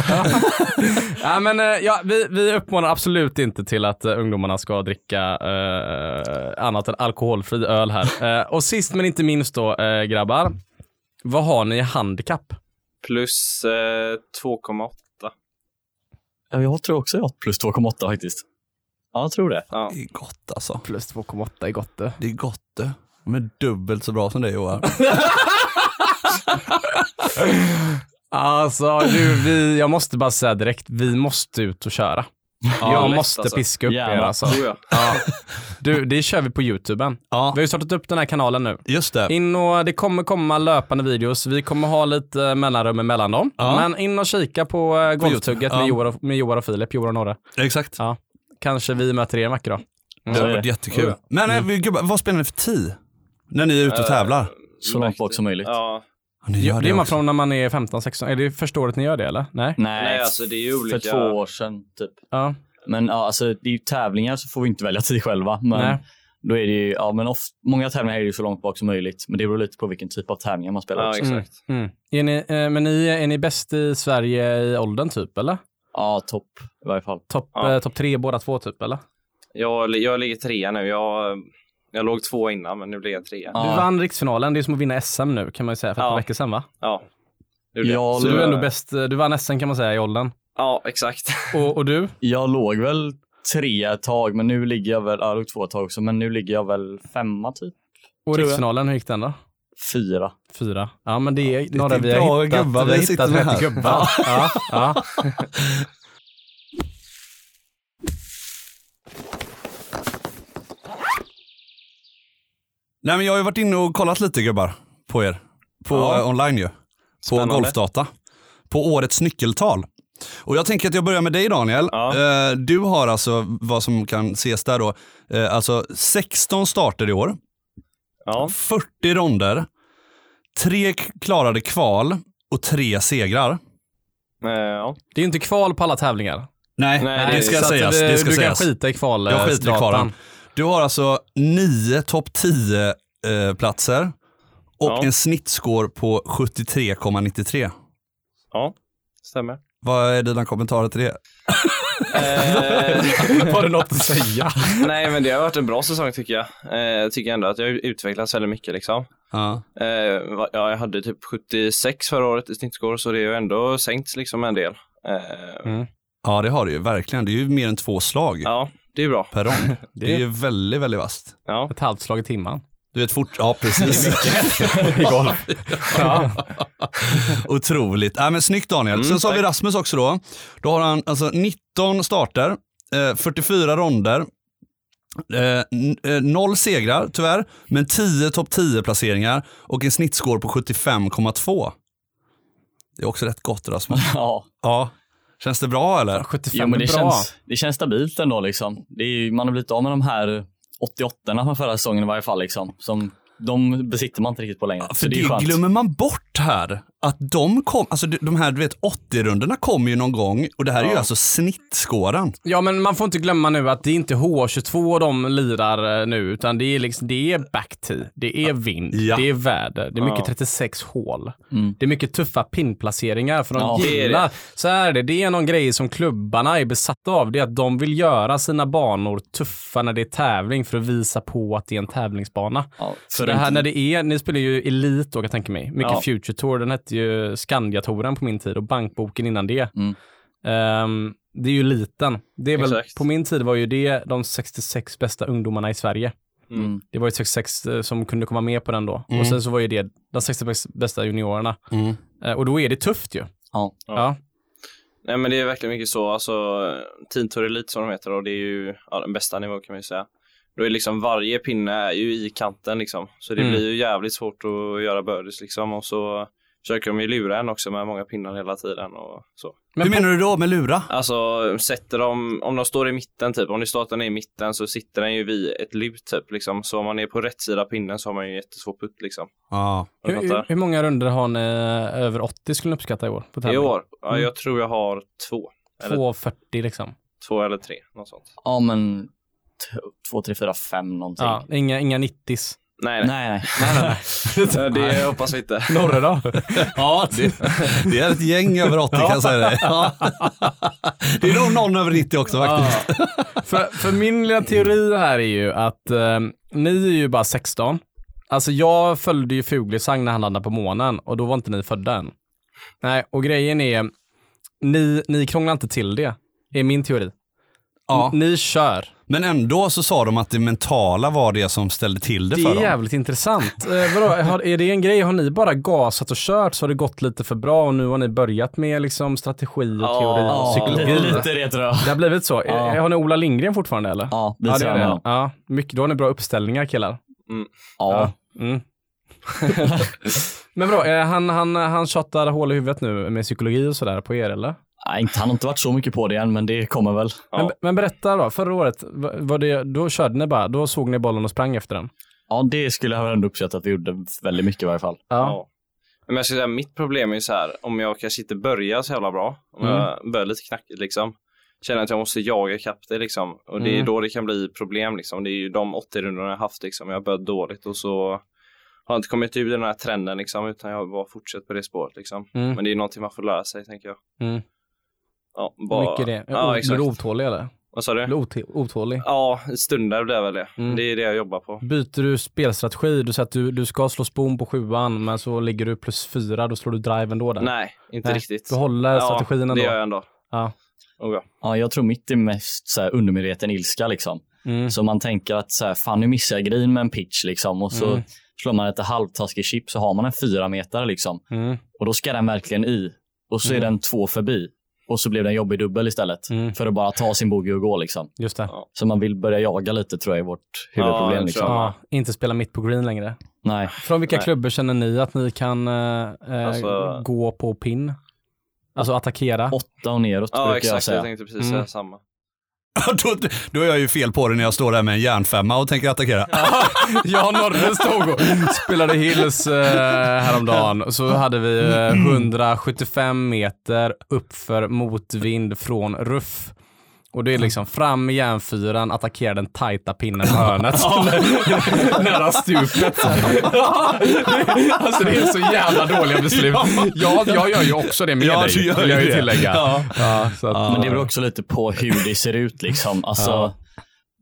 [SPEAKER 2] Ja, men, eh, ja, vi, vi uppmanar absolut inte till att eh, ungdomarna ska dricka eh, annat än alkoholfri öl här. Eh, och sist men inte minst då, eh, grabbar. Vad har ni i handikapp?
[SPEAKER 4] Plus eh, 2,8.
[SPEAKER 3] Ja, jag tror också jag har plus 2,8 faktiskt. Ja, jag tror det.
[SPEAKER 4] Ja.
[SPEAKER 1] Det är gott alltså.
[SPEAKER 2] Plus 2,8 i gott eh. du.
[SPEAKER 1] Det är gott du. De är dubbelt så bra som dig Johan.
[SPEAKER 2] Alltså, du, vi, jag måste bara säga direkt, vi måste ut och köra. jag
[SPEAKER 4] lätt,
[SPEAKER 2] måste
[SPEAKER 4] alltså.
[SPEAKER 2] piska upp er
[SPEAKER 3] Gärna.
[SPEAKER 2] alltså.
[SPEAKER 4] Oh, ja.
[SPEAKER 2] Ja. Du, det kör vi på YouTuben.
[SPEAKER 1] Ja,
[SPEAKER 2] Vi har ju startat upp den här kanalen nu.
[SPEAKER 1] just det.
[SPEAKER 2] In och det kommer komma löpande videos. Vi kommer ha lite eh, mellanrum emellan dem.
[SPEAKER 1] Ja.
[SPEAKER 2] Men in och kika på eh, golftugget
[SPEAKER 1] Ja.
[SPEAKER 2] med, Joar och, med Joar och Filip, Joar och Norre.
[SPEAKER 1] Exakt.
[SPEAKER 2] Ja. Kanske vi möter er en vacker dag.
[SPEAKER 1] Det
[SPEAKER 3] Så
[SPEAKER 1] har
[SPEAKER 3] är
[SPEAKER 1] varit
[SPEAKER 3] det.
[SPEAKER 1] jättekul. Men eh, vi- gubbar, vad spelar ni för tid? När ni är ute och tävlar?
[SPEAKER 3] Så långt bort som möjligt.
[SPEAKER 4] Ja.
[SPEAKER 1] Ja, ni
[SPEAKER 2] Eh, Det,
[SPEAKER 1] gör
[SPEAKER 2] är man
[SPEAKER 1] också.
[SPEAKER 2] från när man är 15-16. Är det första året ni gör det eller? Nej?
[SPEAKER 3] Nej,
[SPEAKER 4] Nej, alltså, det är ju olika-
[SPEAKER 3] För två år sedan typ.
[SPEAKER 2] Ja.
[SPEAKER 3] Men ja, alltså det är ju tävlingar så får vi inte välja tid själva. Men
[SPEAKER 2] Nej.
[SPEAKER 3] Då är det ju, ja men oft, många tävlingar är ju så långt bak som möjligt. Men det beror lite på vilken typ av tävlingar man spelar
[SPEAKER 4] Ja,
[SPEAKER 3] också.
[SPEAKER 4] exakt.
[SPEAKER 2] Mm. Är ni, eh, men ni, är ni bäst i Sverige i åldern typ, eller?
[SPEAKER 3] Ja, topp i varje fall.
[SPEAKER 2] Topp
[SPEAKER 4] Ja.
[SPEAKER 2] eh, topp tre båda två typ, eller?
[SPEAKER 4] Jag, jag ligger trea nu. Jag, jag låg två innan, men nu blir jag trea.
[SPEAKER 3] Ja.
[SPEAKER 2] Du vann riksfinalen, det är som att vinna SM nu kan man ju säga för ett
[SPEAKER 4] Ja.
[SPEAKER 2] par veckor sedan va?
[SPEAKER 4] Ja. Det är det.
[SPEAKER 3] Jag-
[SPEAKER 4] Så
[SPEAKER 2] Så du är
[SPEAKER 4] jag-
[SPEAKER 2] ändå bäst, eh, du vann SM kan man säga i åldern.
[SPEAKER 4] Ja, exakt.
[SPEAKER 2] Och, och du?
[SPEAKER 3] Jag låg väl trea ett tag, men nu ligger jag väl, ja, jag låg två ett tag också, men nu ligger jag väl femma typ.
[SPEAKER 2] Och
[SPEAKER 3] Tror jag.
[SPEAKER 2] riksfinalen, hur gick den då?
[SPEAKER 3] Fyra.
[SPEAKER 2] Fyra. Ja men det är
[SPEAKER 1] det är typ
[SPEAKER 2] några vi
[SPEAKER 1] bra
[SPEAKER 2] har hittat.
[SPEAKER 1] gubbar
[SPEAKER 2] vi
[SPEAKER 1] vi
[SPEAKER 2] har
[SPEAKER 1] sitter
[SPEAKER 2] hittat
[SPEAKER 1] med
[SPEAKER 2] rätt
[SPEAKER 1] här.
[SPEAKER 2] gubbar. Ja, ja.
[SPEAKER 1] Nej, men jag har ju varit inne och kollat lite gubbar på er. På
[SPEAKER 4] Ja.
[SPEAKER 1] eh, online ju. På
[SPEAKER 4] Spännande.
[SPEAKER 1] Golfdata. På årets nyckeltal. Och jag tänker att jag börjar med dig Daniel.
[SPEAKER 4] Ja.
[SPEAKER 1] Eh, Du har alltså vad som kan ses där då. eh, Alltså 16 starter i år.
[SPEAKER 4] Ja.
[SPEAKER 1] 40 ronder. Tre k- klarade kval och tre segrar.
[SPEAKER 4] Eh, ja.
[SPEAKER 2] Det är ju inte kval på alla tävlingar.
[SPEAKER 1] Nej,
[SPEAKER 4] Nej,
[SPEAKER 1] det ska
[SPEAKER 2] så att
[SPEAKER 1] sägas.
[SPEAKER 2] det-
[SPEAKER 1] Det ska
[SPEAKER 2] du
[SPEAKER 1] sägas.
[SPEAKER 2] kan skita i kval.
[SPEAKER 1] Jag skiter i
[SPEAKER 2] datan.
[SPEAKER 1] kvalen. Du har alltså nio topp 10 eh, platser och
[SPEAKER 4] Ja.
[SPEAKER 1] en snittscore på 73,93.
[SPEAKER 4] ja, stämmer.
[SPEAKER 1] Vad är dina kommentarer till det?
[SPEAKER 4] Eh,
[SPEAKER 2] Var det något att säga?
[SPEAKER 4] nej, men det har varit en bra säsong tycker jag. Eh, Jag tycker ändå att jag har utvecklats väldigt mycket liksom.
[SPEAKER 1] Ja.
[SPEAKER 4] Eh, va- ja, jag hade typ 76 förra året i snittscore så det har ju ändå sänkts liksom en del. Eh,
[SPEAKER 1] ja, det har du ju verkligen. Det är ju mer än två slag
[SPEAKER 4] Ja, det är bra.
[SPEAKER 1] per rond. Det är
[SPEAKER 2] är-
[SPEAKER 1] ju väldigt, väldigt vasst.
[SPEAKER 4] Ja.
[SPEAKER 2] Ett halvt slag i timmen.
[SPEAKER 1] Du vet fort, ja precis.
[SPEAKER 2] I golf. ja. Mm,
[SPEAKER 1] Otroligt. Äh, men snyggt Daniel. Sen så har vi Rasmus också då. Då har han alltså 19 starter, eh, 44 ronder, eh, n- eh, noll segrar tyvärr, men 10 topp 10 placeringar och en snittscore på 75,2. Det är också rätt gott Rasmus.
[SPEAKER 3] Ja,
[SPEAKER 1] Ja. Känns det bra eller?
[SPEAKER 2] 75
[SPEAKER 3] jo, men det,
[SPEAKER 2] är bra.
[SPEAKER 3] känns, det känns stabilt ändå liksom. Det är ju, man har blivit av med de här 88orna från förra säsongen i varje fall liksom. Som, de besitter man inte riktigt på längre.
[SPEAKER 1] Ja,
[SPEAKER 3] så
[SPEAKER 1] För
[SPEAKER 3] det är
[SPEAKER 1] det,
[SPEAKER 3] ju skönt.
[SPEAKER 1] glömmer man bort här. Att de kom, alltså de de här du vet 80-rundorna kom ju någon gång och det här är ju
[SPEAKER 4] Ja.
[SPEAKER 1] alltså snittskåran.
[SPEAKER 2] Ja, men man får inte glömma nu att det är inte H22 de lirar eh, nu, utan det är, liksom, det är backtee, det är vind,
[SPEAKER 1] Ja.
[SPEAKER 2] det är väder, det är mycket
[SPEAKER 4] Ja.
[SPEAKER 2] 36 hål.
[SPEAKER 3] Mm.
[SPEAKER 2] Det är mycket tuffa pinplaceringar för de
[SPEAKER 3] Ja.
[SPEAKER 4] Det är
[SPEAKER 2] gillar. Så här är det, det är någon grej som klubbarna är besatta av, det är att de vill göra sina banor tuffa när det är tävling för att visa på att det är en tävlingsbana.
[SPEAKER 3] Ja,
[SPEAKER 2] Så
[SPEAKER 3] för
[SPEAKER 2] det här
[SPEAKER 3] inte-
[SPEAKER 2] när det är, ni spelar ju Elite då kan jag tänka mig. Mycket
[SPEAKER 3] Ja.
[SPEAKER 2] Future Tour, den hette ju Skandiatoren på min tid och Bankboken innan det.
[SPEAKER 3] Mm.
[SPEAKER 2] Ehm, det är ju liten. Det är väl,
[SPEAKER 4] Exakt.
[SPEAKER 2] på min tid var ju det de 66 bästa ungdomarna i Sverige.
[SPEAKER 3] Mm.
[SPEAKER 2] Det var ju 66 eh, som kunde komma med på den då.
[SPEAKER 1] Mm.
[SPEAKER 2] Och sen så var ju det de 66 bästa juniorerna. Eh, och då är det tufft ju.
[SPEAKER 3] Ja.
[SPEAKER 2] Ja.
[SPEAKER 4] Nej, men det är verkligen mycket så. Alltså, Team Tour Elite som de heter och det är ju ja, den bästa nivån kan man ju säga. Då är liksom varje pinne är ju i kanten liksom. Så det
[SPEAKER 2] Mm.
[SPEAKER 4] blir ju jävligt svårt att göra birdies liksom och så försöker de ju lura en också med många pinnar hela tiden och så.
[SPEAKER 1] Hur
[SPEAKER 2] Men på,
[SPEAKER 1] menar du då med lura?
[SPEAKER 4] Alltså sätter de, om de står i mitten typ, om det starten är i mitten så sitter den ju vid ett lut typ liksom. Så om man är på rätt sida av pinnen så har man ju jättesvår putt liksom.
[SPEAKER 1] Ja.
[SPEAKER 4] Jag
[SPEAKER 2] hur, hur,
[SPEAKER 4] fattar.
[SPEAKER 2] hur många runder har ni eh, över 80 skulle ni uppskatta i år? På
[SPEAKER 4] I
[SPEAKER 2] tävling?
[SPEAKER 4] år? Ja,
[SPEAKER 2] Mm.
[SPEAKER 4] jag tror jag har två. eller-
[SPEAKER 2] 240 liksom.
[SPEAKER 4] Två eller tre, något sånt.
[SPEAKER 3] Ja, men t- två, tre, fyra, fem någonting.
[SPEAKER 2] Ja, inga, inga 90s.
[SPEAKER 4] Nej,
[SPEAKER 3] Nej,
[SPEAKER 4] nej.
[SPEAKER 3] nej.
[SPEAKER 4] Eh, Det hoppas vi inte.
[SPEAKER 2] Norre då?
[SPEAKER 1] Ja, det, det är ett gäng över 80 kan jag säga dig. Ja. Det är nog någon över 90 också faktiskt.
[SPEAKER 2] Ja. för, för min lilla teori här är ju att eh, ni är ju bara 16. Alltså jag följde ju Fuglesang när han landade på månen och då var inte ni födda än. Nej, och grejen är, ni, ni krånglar inte till det, är min teori.
[SPEAKER 1] Ja.
[SPEAKER 2] Ni kör.
[SPEAKER 1] Men ändå så sa de att det mentala var det som ställde till det,
[SPEAKER 2] Det
[SPEAKER 1] för
[SPEAKER 2] är
[SPEAKER 1] dem.
[SPEAKER 2] jävligt intressant. Eh, vadå, har, är det en grej, har ni bara gasat och kört så har det gått lite för bra och nu har ni börjat med liksom strategi och
[SPEAKER 4] Ja,
[SPEAKER 2] teori och
[SPEAKER 3] Ja,
[SPEAKER 2] psykologi?
[SPEAKER 3] lite, lite det tror jag.
[SPEAKER 2] Det har blivit så.
[SPEAKER 3] Ja.
[SPEAKER 2] Eh, Har ni Ola Lindgren fortfarande eller?
[SPEAKER 3] Ja, vi
[SPEAKER 2] Ja, det är
[SPEAKER 3] tränar
[SPEAKER 2] det.
[SPEAKER 3] dem.
[SPEAKER 2] Ja, mycket, då har ni bra uppställningar killar.
[SPEAKER 3] Ja.
[SPEAKER 2] Mm. Men bra, eh, han, han, han tjatar hål i huvudet nu med psykologi och sådär på er eller?
[SPEAKER 3] Nej, inte, han har inte varit så mycket på det än, men det kommer väl.
[SPEAKER 4] Ja.
[SPEAKER 2] Men, men berätta då, förra året, va- var det, då körde ni bara, då såg ni bollen och sprang efter den?
[SPEAKER 3] Ja, det skulle jag väl ändå uppskatta att vi gjorde väldigt mycket i varje fall.
[SPEAKER 2] Ja.
[SPEAKER 4] Ja. Men jag ska säga, mitt problem är ju så här, om jag kanske inte börjar så jävla bra, om
[SPEAKER 2] Mm.
[SPEAKER 4] jag börjar lite knackigt liksom, känner att jag måste jaga ikapp det liksom. Och det är
[SPEAKER 2] Mm.
[SPEAKER 4] då det kan bli problem liksom. Det är ju de 80 rundorna jag haft liksom. Jag har börjat dåligt och så har jag inte kommit ur den här trenden liksom utan jag har bara fortsatt på det spåret liksom.
[SPEAKER 2] Mm.
[SPEAKER 4] Men det är någonting man får lära sig tänker jag.
[SPEAKER 2] Mm.
[SPEAKER 4] Ja, bara...
[SPEAKER 2] Mycket det.
[SPEAKER 4] Ja,
[SPEAKER 2] Ja, blir
[SPEAKER 4] exakt.
[SPEAKER 2] du otålig eller?
[SPEAKER 4] Vad sa
[SPEAKER 2] Blir du
[SPEAKER 4] du?
[SPEAKER 2] ot- otålig?
[SPEAKER 4] Ja, i stunder blir jag väl det.
[SPEAKER 2] Mm.
[SPEAKER 4] Det är det jag jobbar på.
[SPEAKER 2] Byter du spelstrategi, du säger att du, du ska slå spon på sjuan men så ligger du plus fyra, då slår du drive ändå där.
[SPEAKER 4] Nej, inte
[SPEAKER 2] Nej,
[SPEAKER 4] riktigt.
[SPEAKER 2] Du håller strategin ändå.
[SPEAKER 4] det gör jag ändå.
[SPEAKER 2] Ja.
[SPEAKER 4] Oh, ja.
[SPEAKER 3] Ja, jag tror mitt är mest så här, undermedveten ilska liksom.
[SPEAKER 2] Mm.
[SPEAKER 3] Så man tänker att så här, fan nu missar jag green med en pitch liksom och så
[SPEAKER 2] Mm.
[SPEAKER 3] slår man ett halvtaskigt chip så har man en fyra meter liksom.
[SPEAKER 2] Mm.
[SPEAKER 3] Och då ska den verkligen i. Och så
[SPEAKER 2] Mm.
[SPEAKER 3] är den två förbi. Och så blev det en jobbig dubbel istället.
[SPEAKER 2] Mm.
[SPEAKER 3] För att bara ta sin bogey och gå liksom.
[SPEAKER 2] Just det.
[SPEAKER 4] Ja.
[SPEAKER 3] Så man vill börja jaga lite tror jag är vårt
[SPEAKER 4] Ja,
[SPEAKER 3] huvudproblem.
[SPEAKER 4] jag
[SPEAKER 3] liksom.
[SPEAKER 4] tror
[SPEAKER 2] Ja, inte spela mitt på green längre.
[SPEAKER 3] Nej.
[SPEAKER 2] Från vilka
[SPEAKER 4] Nej.
[SPEAKER 2] klubbor känner ni att ni kan eh, eh,
[SPEAKER 4] Alltså-
[SPEAKER 2] gå på pin? Alltså attackera?
[SPEAKER 3] Åtta och neråt
[SPEAKER 4] ja,
[SPEAKER 3] brukar jag
[SPEAKER 4] exakt. Jag,
[SPEAKER 3] säga.
[SPEAKER 4] tänkte precis
[SPEAKER 2] Mm.
[SPEAKER 4] säga samma.
[SPEAKER 1] då, då är jag ju fel på det när jag står där med en järnfemma och tänker attackera.
[SPEAKER 2] Jag och Norre stod och spelade Hills eh, häromdagen. Och Så hade vi eh, 175 meter uppför motvind från ruff. Och det är liksom fram med järnfyran, attackera den tajta pinnen i hörnet. Nära stupet. alltså det är så jävla dåliga beslut. Ja, jag gör ju också det med
[SPEAKER 1] Ja,
[SPEAKER 2] dig,
[SPEAKER 1] du gör
[SPEAKER 2] vill jag
[SPEAKER 1] ju
[SPEAKER 2] ju
[SPEAKER 1] det.
[SPEAKER 2] tillägga.
[SPEAKER 1] Ja.
[SPEAKER 2] Ja, så att,
[SPEAKER 3] Men det beror också lite på hur det ser ut liksom. Alltså,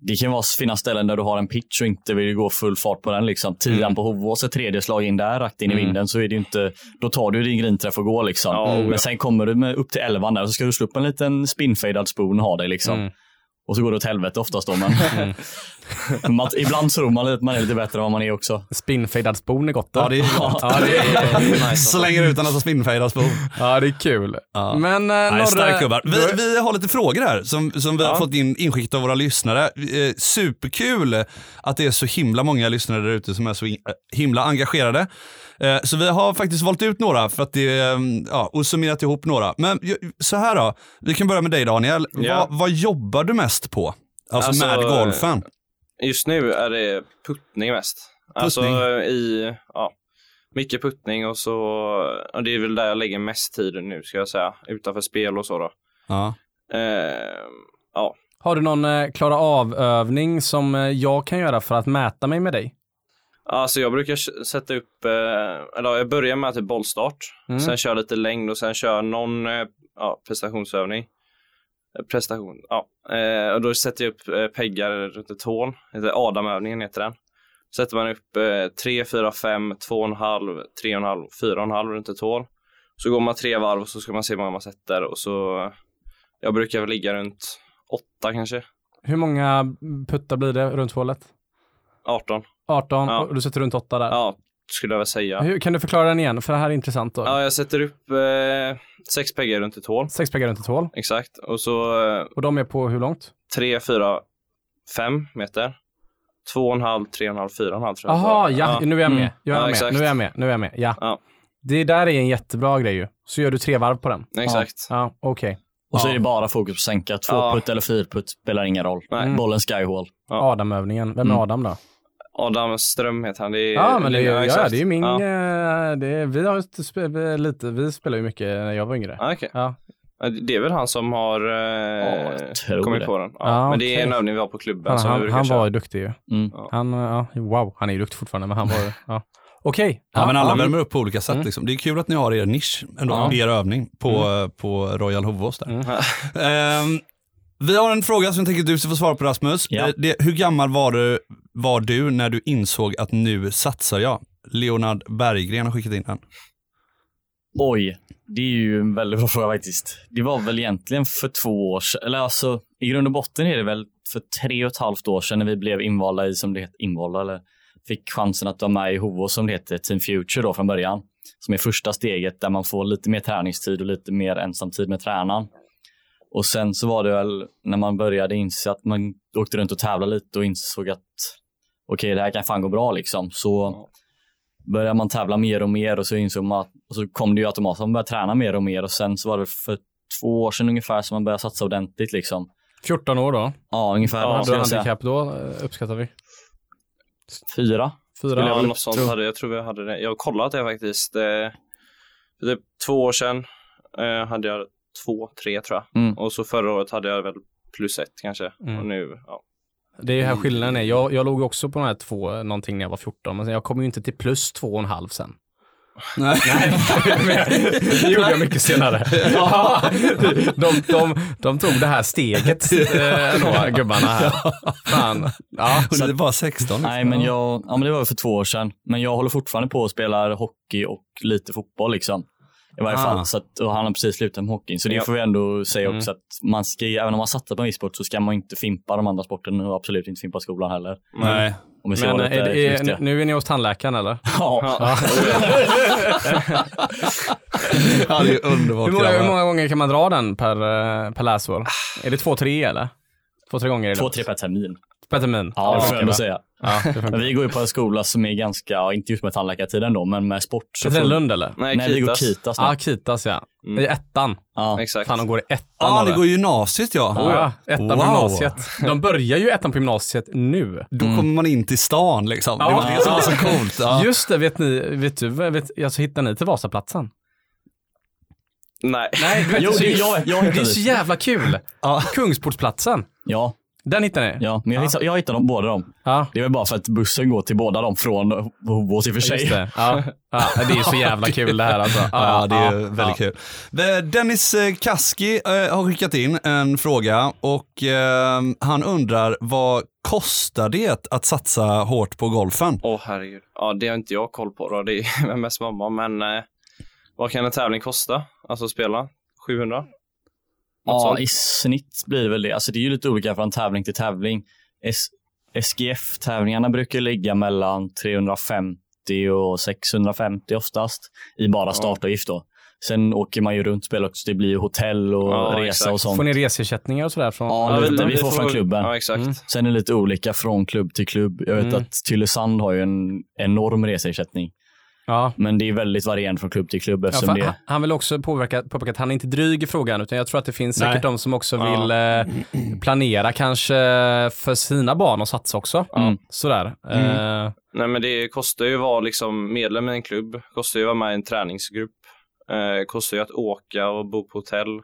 [SPEAKER 3] Det kan vara fina ställen där du har en pitch och inte vill gå full fart på den. Liksom. Tian
[SPEAKER 4] Mm.
[SPEAKER 3] på Hovås, ett tredje slag in där, rakt in i vinden, så är det ju inte, då tar du din grinträff och går. Liksom.
[SPEAKER 4] Ja, Mm.
[SPEAKER 3] Men sen kommer du med upp till elvan där och så ska du slå upp en liten spinfadad spoon och ha dig. Liksom.
[SPEAKER 2] Mm.
[SPEAKER 3] Och så går det åt helvete oftast då. Men
[SPEAKER 4] Mm.
[SPEAKER 3] man, ibland tror man att man är lite bättre än vad man är också.
[SPEAKER 2] Spinnfadad spon är gott. då.
[SPEAKER 1] Ja, det är gott.
[SPEAKER 2] Ja, det är,
[SPEAKER 1] Slänger ut den alltså spinnfejdas på.
[SPEAKER 2] ja, det är kul. Men eh,
[SPEAKER 1] Nej, stark
[SPEAKER 2] Norre,
[SPEAKER 1] gubbar. Vi, vi har lite frågor här som, som vi har fått in inskickat av våra lyssnare. Eh, superkul att det är så himla många lyssnare där ute som är så in, eh, himla engagerade. Eh, så vi har faktiskt valt ut några för att det, eh, ja, och summerat ihop några. Men ju- så här då, vi kan börja med dig Daniel.
[SPEAKER 4] Ja.
[SPEAKER 1] Vad- vad jobbar du mest på? Alltså,
[SPEAKER 4] Alltså,
[SPEAKER 1] med golfen.
[SPEAKER 4] Just nu är det puttning mest. Alltså i, ja, mycket puttning och så, och det är väl där jag lägger mest tid nu ska jag säga, utanför spel och så då.
[SPEAKER 1] Ja.
[SPEAKER 4] Eh,
[SPEAKER 2] har du någon eh, klara av-övning som eh, jag kan göra för att mäta mig med dig?
[SPEAKER 4] Alltså jag brukar s- sätta upp, eh, eller jag börjar med typ bollstart,
[SPEAKER 2] Mm.
[SPEAKER 4] sen kör lite längd och sen kör någon eh, ja, prestationsövning. Eh, Prestation, ja. Eh, och då sätter jag upp eh, peggar runt ett hål, heter Adamövningen heter den. Sätter man upp eh, 3, 4, 5, 2,5, 3,5, 4,5 runt ett hål. Så går man tre varv och så ska man se hur många man sätter och så, jag brukar väl ligga runt 8 kanske,
[SPEAKER 2] Hur många puttar blir det runt hålet?
[SPEAKER 4] 18.
[SPEAKER 2] 18
[SPEAKER 4] Ja.
[SPEAKER 2] och du sätter runt 8 där.
[SPEAKER 4] Ja, skulle jag väl säga.
[SPEAKER 2] Hur, kan du förklara den igen? För det här är intressant. Då.
[SPEAKER 4] Ja, jag sätter upp eh, sex peggar runt ett hål.
[SPEAKER 2] Sex peggar runt ett hål
[SPEAKER 4] Exakt. Och så eh,
[SPEAKER 2] och de är på hur långt?
[SPEAKER 4] tre, fyra, fem meter. Två och en halv, tre och en halv, fyra och en halv tror jag.
[SPEAKER 2] Jaha, ja, nu är jag med.
[SPEAKER 3] Mm.
[SPEAKER 2] Jag är
[SPEAKER 4] Ja,
[SPEAKER 2] med.
[SPEAKER 4] exakt.
[SPEAKER 2] Nu är jag med. Nu är jag med. Ja.
[SPEAKER 4] Ja.
[SPEAKER 2] Det där är en jättebra grej ju. Så gör du tre varv på den.
[SPEAKER 4] Ja, exakt.
[SPEAKER 2] Ja, okej.
[SPEAKER 3] Och så
[SPEAKER 2] Ja.
[SPEAKER 3] är det bara fokus på att sänka. Två
[SPEAKER 4] Ja.
[SPEAKER 3] putt eller fyrputt spelar ingen roll.
[SPEAKER 4] Nej.
[SPEAKER 3] Bollen ska i hål.
[SPEAKER 4] Ja.
[SPEAKER 2] Adam-övningen. Vem är
[SPEAKER 3] Mm.
[SPEAKER 2] Adam då?
[SPEAKER 4] Adam Ström heter han. Det är,
[SPEAKER 2] Ja, men det, är- ja, ja,
[SPEAKER 4] exakt.
[SPEAKER 2] det är ju min...
[SPEAKER 4] Ja,
[SPEAKER 2] eh, Det är, vi har ju inte spe- vi är lite, vi spelade ju mycket när jag var yngre.
[SPEAKER 4] ah, okej.
[SPEAKER 2] Ja.
[SPEAKER 4] Ja, Det är väl han som har eh,
[SPEAKER 3] jag tror
[SPEAKER 4] kommit
[SPEAKER 3] det.
[SPEAKER 4] på den. Ja,
[SPEAKER 2] Ja,
[SPEAKER 4] Men det är
[SPEAKER 2] okej.
[SPEAKER 4] en övning vi har på klubben
[SPEAKER 2] Han,
[SPEAKER 4] som vi
[SPEAKER 2] han,
[SPEAKER 4] brukar
[SPEAKER 2] han
[SPEAKER 4] köra.
[SPEAKER 2] var ju duktig ju.
[SPEAKER 3] Mm.
[SPEAKER 4] Ja.
[SPEAKER 2] Han, eh, ja, wow, han är ju duktig fortfarande, men han var ju... Ja. Okej.
[SPEAKER 1] Ja, men alla
[SPEAKER 2] ja.
[SPEAKER 1] värmer upp på olika sätt.
[SPEAKER 2] Mm.
[SPEAKER 1] Liksom. Det är kul att ni har er nisch, ändå,
[SPEAKER 2] Ja.
[SPEAKER 1] er övning på, på Royal Hovås. Där.
[SPEAKER 2] Mm.
[SPEAKER 1] Ehm, vi har en fråga som jag tänker att du ska få svara på Rasmus.
[SPEAKER 3] Ja.
[SPEAKER 1] Eh, Det, hur gammal var du, var du när du insåg att nu satsar jag? Leonard Berggren har skickat in den.
[SPEAKER 3] Oj, det är ju en väldigt bra fråga faktiskt. Det var väl egentligen för två år sedan, eller alltså i grund och botten är det väl för tre och ett halvt år sedan när vi blev invalda i, som det heter, invalda eller fick chansen att vara med i HO som det heter, Team Future då från början. Som är första steget där man får lite mer träningstid och lite mer ensamtid med tränaren. Och sen så var det väl när man började inse att man åkte runt och tävlade lite och insåg att okej, det här kan fan gå bra liksom. Så började man tävla mer och mer och så insåg man att, och så kom det ju automatiskt att man började träna mer och mer och sen så var det för två år sedan ungefär som man började satsa ordentligt liksom.
[SPEAKER 2] 14 år då.
[SPEAKER 3] Ja, ungefär.
[SPEAKER 4] Ja,
[SPEAKER 3] vad
[SPEAKER 2] Hade
[SPEAKER 3] skulle
[SPEAKER 2] du
[SPEAKER 3] jag säga?
[SPEAKER 2] handikapp då, eh, uppskattar vi?
[SPEAKER 3] Fyra?
[SPEAKER 2] Fyra?
[SPEAKER 4] Skulle jag väl något sånt hade, jag tror jag hade det. Jag har kollat det faktiskt. Eh, för typ två år sedan eh, hade jag två, tre tror jag.
[SPEAKER 3] Mm.
[SPEAKER 4] Och så förra året hade jag väl plus ett kanske.
[SPEAKER 2] Mm.
[SPEAKER 4] Och nu, ja.
[SPEAKER 2] Det är ju här skillnaden är. Jag, jag låg också på de här två någonting när jag var 14, men sen- jag kom ju inte till plus två och en halv sen.
[SPEAKER 1] Nej.
[SPEAKER 2] det gjorde jag mycket senare. De, de, de tog det här steget, eh, då, gubbarna här. Fan. Ja,
[SPEAKER 1] Och det är bara liksom. 16.
[SPEAKER 3] Nej, men, jag, ja, men det var ju för två år sedan. Men jag håller fortfarande på och spelar hockey och lite fotboll. liksom. I varje
[SPEAKER 1] Ah.
[SPEAKER 3] fall. Så att, och han har precis slutat med hockeyn. Så det
[SPEAKER 4] Ja.
[SPEAKER 3] får vi ändå säga
[SPEAKER 2] Mm.
[SPEAKER 3] också att man ska, även om man satsar på en viss sport så ska man inte fimpa de andra sporterna och absolut inte fimpa skolan heller.
[SPEAKER 1] Nej.
[SPEAKER 3] Om vi ska
[SPEAKER 2] Men
[SPEAKER 3] vara
[SPEAKER 2] är
[SPEAKER 3] lite
[SPEAKER 2] det, är,
[SPEAKER 3] förnuftiga.
[SPEAKER 2] nu är ni hos tandläkaren eller?
[SPEAKER 3] Ja.
[SPEAKER 4] Ja.
[SPEAKER 1] Ja, det är underbart.
[SPEAKER 2] Hur många,
[SPEAKER 1] grabbar.
[SPEAKER 2] hur många gånger kan man dra den per, eh, per läsår? Är det två, tre eller? Två, tre gånger? är det.
[SPEAKER 3] Två, tre per termin.
[SPEAKER 2] Per termin?
[SPEAKER 3] Ja, det får jag
[SPEAKER 2] funkar
[SPEAKER 3] ändå
[SPEAKER 2] bra.
[SPEAKER 3] säga.
[SPEAKER 2] Ja, det funkar.
[SPEAKER 3] Men vi går ju på en skola som är ganska, ja, inte just med tandläkartiden då, men med sport. Så får-
[SPEAKER 2] Petrinelund eller?
[SPEAKER 4] Nej,
[SPEAKER 3] Nej, vi går
[SPEAKER 4] Kitas.
[SPEAKER 3] Kitas nu.
[SPEAKER 2] Ja, Kitas ja.
[SPEAKER 4] Mm.
[SPEAKER 2] I ettan.
[SPEAKER 3] Ja.
[SPEAKER 4] Exakt.
[SPEAKER 2] Fan, de går i ettan.
[SPEAKER 1] Ja,
[SPEAKER 2] av
[SPEAKER 1] ah, det går gymnasiet ja.
[SPEAKER 2] Ja, ettan
[SPEAKER 1] Wow.
[SPEAKER 2] på gymnasiet. De börjar ju ettan på gymnasiet nu.
[SPEAKER 1] Då kommer man in till stan liksom. Det
[SPEAKER 2] Mm. Ja.
[SPEAKER 1] var det som var så coolt. Ja.
[SPEAKER 2] Just det, vet ni, vet du, vet, alltså hittar ni till Vasaplatsen?
[SPEAKER 4] Nej.
[SPEAKER 2] Nej,
[SPEAKER 3] Jo, det, jag, vet- jag
[SPEAKER 2] Det är
[SPEAKER 3] hittade
[SPEAKER 2] så jävla kul. Kungsportsplatsen,
[SPEAKER 3] Ja,
[SPEAKER 2] den hittar ni?
[SPEAKER 3] ja, men jag hittade, jag hittade dem, båda dem.
[SPEAKER 2] Ja,
[SPEAKER 3] Det är väl bara för att bussen går till båda dem från Hovås i och för sig.
[SPEAKER 2] just det. Ja, ja, det är så jävla kul det här alltså. Ja,
[SPEAKER 1] Ja, det är
[SPEAKER 2] ja,
[SPEAKER 1] väldigt kul. Eh, Dennis eh, Kaski eh, har skickat in en fråga och eh, han undrar vad kostar det att satsa hårt på golfen?
[SPEAKER 4] Åh herregud. Ja, det har inte jag koll på då. Det är mest mamma. Men eh, vad kan en tävling kosta? Alltså spela? 700? Något
[SPEAKER 3] Ja,
[SPEAKER 4] sånt.
[SPEAKER 3] i snitt blir det väl det. Alltså det är ju lite olika från tävling till tävling. S- SGF-tävlingarna brukar ligga mellan 350 och 650 oftast i bara startavgift då. Sen åker man ju runt och spelar också. Det blir ju hotell och
[SPEAKER 4] Ja,
[SPEAKER 3] resa
[SPEAKER 4] exakt.
[SPEAKER 3] och sånt.
[SPEAKER 2] Får ni reseersättningar och sådär från?
[SPEAKER 3] Ja,
[SPEAKER 4] vi-
[SPEAKER 3] lite.
[SPEAKER 4] vi
[SPEAKER 3] Vi får från klubben.
[SPEAKER 4] Ja, exakt.
[SPEAKER 2] Mm.
[SPEAKER 3] Sen är det lite olika från klubb till klubb. Jag vet
[SPEAKER 2] Mm.
[SPEAKER 3] att Tylösand har ju en enorm reseersättning.
[SPEAKER 2] Ja.
[SPEAKER 3] Men det är väldigt varierande från klubb till klubb
[SPEAKER 2] Ja,
[SPEAKER 3] eftersom
[SPEAKER 2] för
[SPEAKER 3] det
[SPEAKER 2] han- han vill också påverka, påpeka att han är inte dryg i frågan, utan jag tror att det finns
[SPEAKER 1] Nej.
[SPEAKER 2] säkert de som också
[SPEAKER 4] Ja.
[SPEAKER 2] vill eh, planera kanske för sina barn och satsa också.
[SPEAKER 3] Mm.
[SPEAKER 2] Sådär. Eh,
[SPEAKER 4] Nej, men det kostar ju att vara liksom medlem i en klubb. Kostar ju att vara med i en träningsgrupp. Eh, kostar ju att åka och bo på hotell.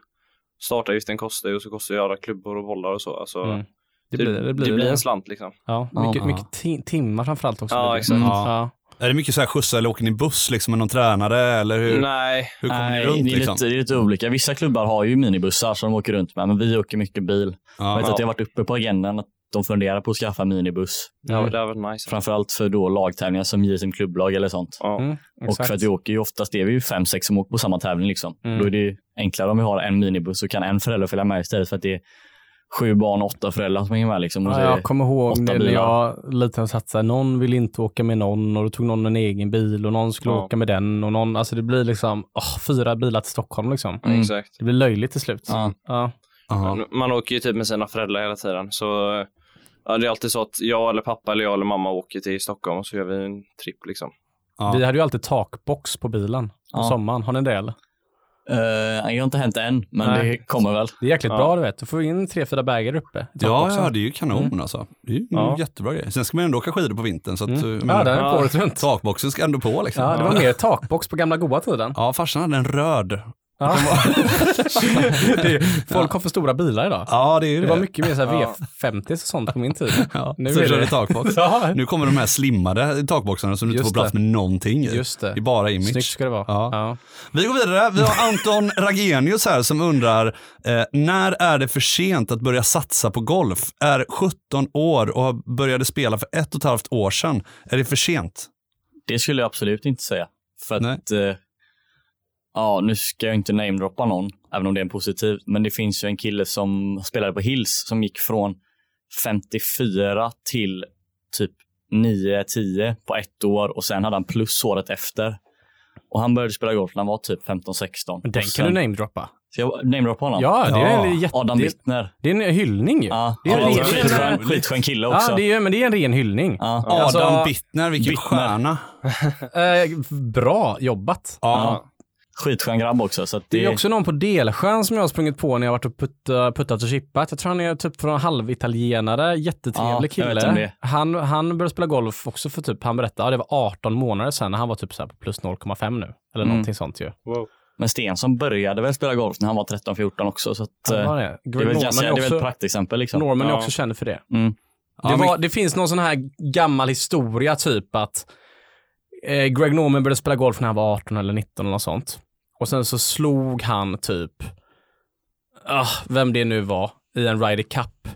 [SPEAKER 4] Startavgiften kostar ju och så kostar ju att göra klubbor och bollar och så. Alltså,
[SPEAKER 2] Mm. det, blir, det, blir,
[SPEAKER 4] en slant liksom.
[SPEAKER 2] Ja,
[SPEAKER 3] Ja,
[SPEAKER 2] mycket,
[SPEAKER 1] ja.
[SPEAKER 2] mycket ti- timmar framförallt också.
[SPEAKER 4] Ja,
[SPEAKER 2] blir det.
[SPEAKER 4] exakt.
[SPEAKER 2] Mm.
[SPEAKER 1] Ja.
[SPEAKER 2] Ja.
[SPEAKER 1] Är det mycket så här skjutsar eller åker ni buss liksom med någon tränare eller hur,
[SPEAKER 4] Nej,
[SPEAKER 1] hur kommer
[SPEAKER 3] Nej,
[SPEAKER 1] ni runt?
[SPEAKER 3] det, är
[SPEAKER 1] Liksom?
[SPEAKER 3] lite, det är lite olika. Vissa klubbar har ju minibussar som de åker runt med, men vi åker mycket bil. Jag
[SPEAKER 1] Ja.
[SPEAKER 3] vet att det har varit uppe på agendan att de funderar på att skaffa minibuss.
[SPEAKER 4] ja, det hade varit nice.
[SPEAKER 3] Framförallt för då lagtävlingar som JSM klubblag eller sånt.
[SPEAKER 4] Ja.
[SPEAKER 2] Mm,
[SPEAKER 3] Och
[SPEAKER 2] exakt.
[SPEAKER 3] för att vi åker ju oftast, det är vi ju fem, sex som åker på samma tävling liksom.
[SPEAKER 2] Mm.
[SPEAKER 3] Då är det ju enklare om vi har en minibuss så kan en förälder följa med istället för att det är sju barn och åtta föräldrar som hänger med liksom. Och så
[SPEAKER 2] Ja,
[SPEAKER 3] är
[SPEAKER 2] jag
[SPEAKER 3] det-
[SPEAKER 2] kommer ihåg
[SPEAKER 3] åtta
[SPEAKER 2] när när
[SPEAKER 3] bilar.
[SPEAKER 2] jag var liten och satsade. Någon vill inte åka med någon och då tog någon en egen bil och någon skulle
[SPEAKER 4] Ja.
[SPEAKER 2] åka med den och någon, alltså det blir liksom åh, fyra bilar till Stockholm liksom.
[SPEAKER 3] Mm.
[SPEAKER 4] Exakt.
[SPEAKER 2] Det blir löjligt till slut.
[SPEAKER 3] Ja.
[SPEAKER 2] Ja.
[SPEAKER 1] Ja.
[SPEAKER 4] Man- Man åker ju typ med sina föräldrar hela tiden. Så eh, ja, det är alltid så att jag eller pappa eller jag eller mamma åker till Stockholm och så gör vi en tripp liksom.
[SPEAKER 1] Ja.
[SPEAKER 2] Vi hade ju alltid takbox på bilen på
[SPEAKER 3] Ja.
[SPEAKER 2] sommaren. Har ni det eller?
[SPEAKER 3] Eh, det har inte hänt än, men
[SPEAKER 2] Nej.
[SPEAKER 3] det kommer väl.
[SPEAKER 2] Det är jäkligt
[SPEAKER 4] Ja.
[SPEAKER 2] bra du vet. Du får in tre, fyra bägare uppe. i
[SPEAKER 1] Ja,
[SPEAKER 2] takboxen.
[SPEAKER 1] ja, det är ju kanon alltså. Det är ju en
[SPEAKER 2] Mm. Ja.
[SPEAKER 1] jättebra grej. Sen ska man ändå åka skidor på vintern så att
[SPEAKER 2] Mm.
[SPEAKER 1] eh, jag
[SPEAKER 2] ja
[SPEAKER 1] menar,
[SPEAKER 2] den är på
[SPEAKER 4] Ja.
[SPEAKER 2] året runt.
[SPEAKER 1] takboxen ska ändå på liksom.
[SPEAKER 2] Ja, det var mer takbox på gamla goa tiden.
[SPEAKER 1] Ja, farsan hade en röd.
[SPEAKER 2] Ja. det är, folk har för stora bilar idag.
[SPEAKER 1] Ja, det är ju
[SPEAKER 2] Det
[SPEAKER 1] det.
[SPEAKER 2] var mycket mer så här
[SPEAKER 4] Ja.
[SPEAKER 2] V50 och sånt på min tid.
[SPEAKER 1] Ja,
[SPEAKER 2] Nu
[SPEAKER 1] så
[SPEAKER 2] är
[SPEAKER 1] körde
[SPEAKER 2] det-
[SPEAKER 1] vi takbox.
[SPEAKER 2] Ja,
[SPEAKER 1] Nu kommer de här slimmade takboxarna som du inte
[SPEAKER 2] Just
[SPEAKER 1] får plats
[SPEAKER 2] det.
[SPEAKER 1] med någonting i.
[SPEAKER 2] just
[SPEAKER 1] Det är
[SPEAKER 2] det.
[SPEAKER 1] bara image.
[SPEAKER 2] Snyggt ska det vara.
[SPEAKER 1] Ja.
[SPEAKER 2] Ja.
[SPEAKER 1] Vi går vidare. Vi har Anton Ragenius här som undrar, eh, när är det för sent att börja satsa på golf? Är 17 år och började spela för ett och ett halvt år sedan. Är det för sent?
[SPEAKER 3] Det skulle jag absolut inte säga. För
[SPEAKER 1] Nej.
[SPEAKER 3] att, eh, ja, nu ska jag inte namedroppa någon, även om det är positivt, men det finns ju en kille som spelade på Hills som gick från 54 till typ 9-10 på ett år och sen hade han plus året efter. Och han började spela golf när han var typ 15-16.
[SPEAKER 2] Men Den
[SPEAKER 3] Och
[SPEAKER 2] kan du
[SPEAKER 3] sen-
[SPEAKER 2] namedroppa.
[SPEAKER 3] Ska jag namedroppa honom?
[SPEAKER 2] Ja, det är,
[SPEAKER 1] Ja.
[SPEAKER 2] en jätte,
[SPEAKER 3] Adam
[SPEAKER 2] det, är-
[SPEAKER 3] Bittner.
[SPEAKER 2] det är en hyllning ju.
[SPEAKER 3] Ja,
[SPEAKER 2] det är
[SPEAKER 3] han var
[SPEAKER 2] en
[SPEAKER 3] en
[SPEAKER 2] ren-
[SPEAKER 3] skitskön, skitskön kille också.
[SPEAKER 2] Ja, det är, ju- men det är en ren hyllning.
[SPEAKER 3] Ja.
[SPEAKER 1] Adam
[SPEAKER 2] Alltså-
[SPEAKER 1] Bittner, vilken
[SPEAKER 3] Bittner.
[SPEAKER 1] stjärna.
[SPEAKER 2] Eh, bra jobbat.
[SPEAKER 1] Ja.
[SPEAKER 3] Skitskön grabb också. Så att
[SPEAKER 2] Det är också någon på Delsjön som jag har sprungit på när jag har varit och putta, puttat och chippat. Jag tror han är typ från halvitalienare, jättetrevlig
[SPEAKER 3] Ja, jag vet vem det
[SPEAKER 2] kille.
[SPEAKER 3] är.
[SPEAKER 2] Han, han började spela golf också för typ, han berättade, ja, det var 18 månader sedan när han var typ så här på plus 0,5 nu. Eller
[SPEAKER 3] Mm.
[SPEAKER 2] någonting sånt ju.
[SPEAKER 3] Men Stensson började väl spela golf när han var 13-14 också. Så att,
[SPEAKER 2] Det
[SPEAKER 3] eh,
[SPEAKER 2] var det.
[SPEAKER 3] det är väl,
[SPEAKER 2] Norman
[SPEAKER 3] ganska,
[SPEAKER 2] är
[SPEAKER 3] det är väl ett
[SPEAKER 2] också,
[SPEAKER 3] praktexempel. Liksom.
[SPEAKER 2] Norman är
[SPEAKER 4] Ja.
[SPEAKER 2] också känd för det.
[SPEAKER 3] Mm.
[SPEAKER 2] det,
[SPEAKER 1] Ja, men-
[SPEAKER 2] var, det finns någon sån här gammal historia, typ att eh, Greg Norman började spela golf när han var 18 eller 19 eller något sånt. Och sen så slog han typ, ah, vem det nu var, i en Ryder Cup.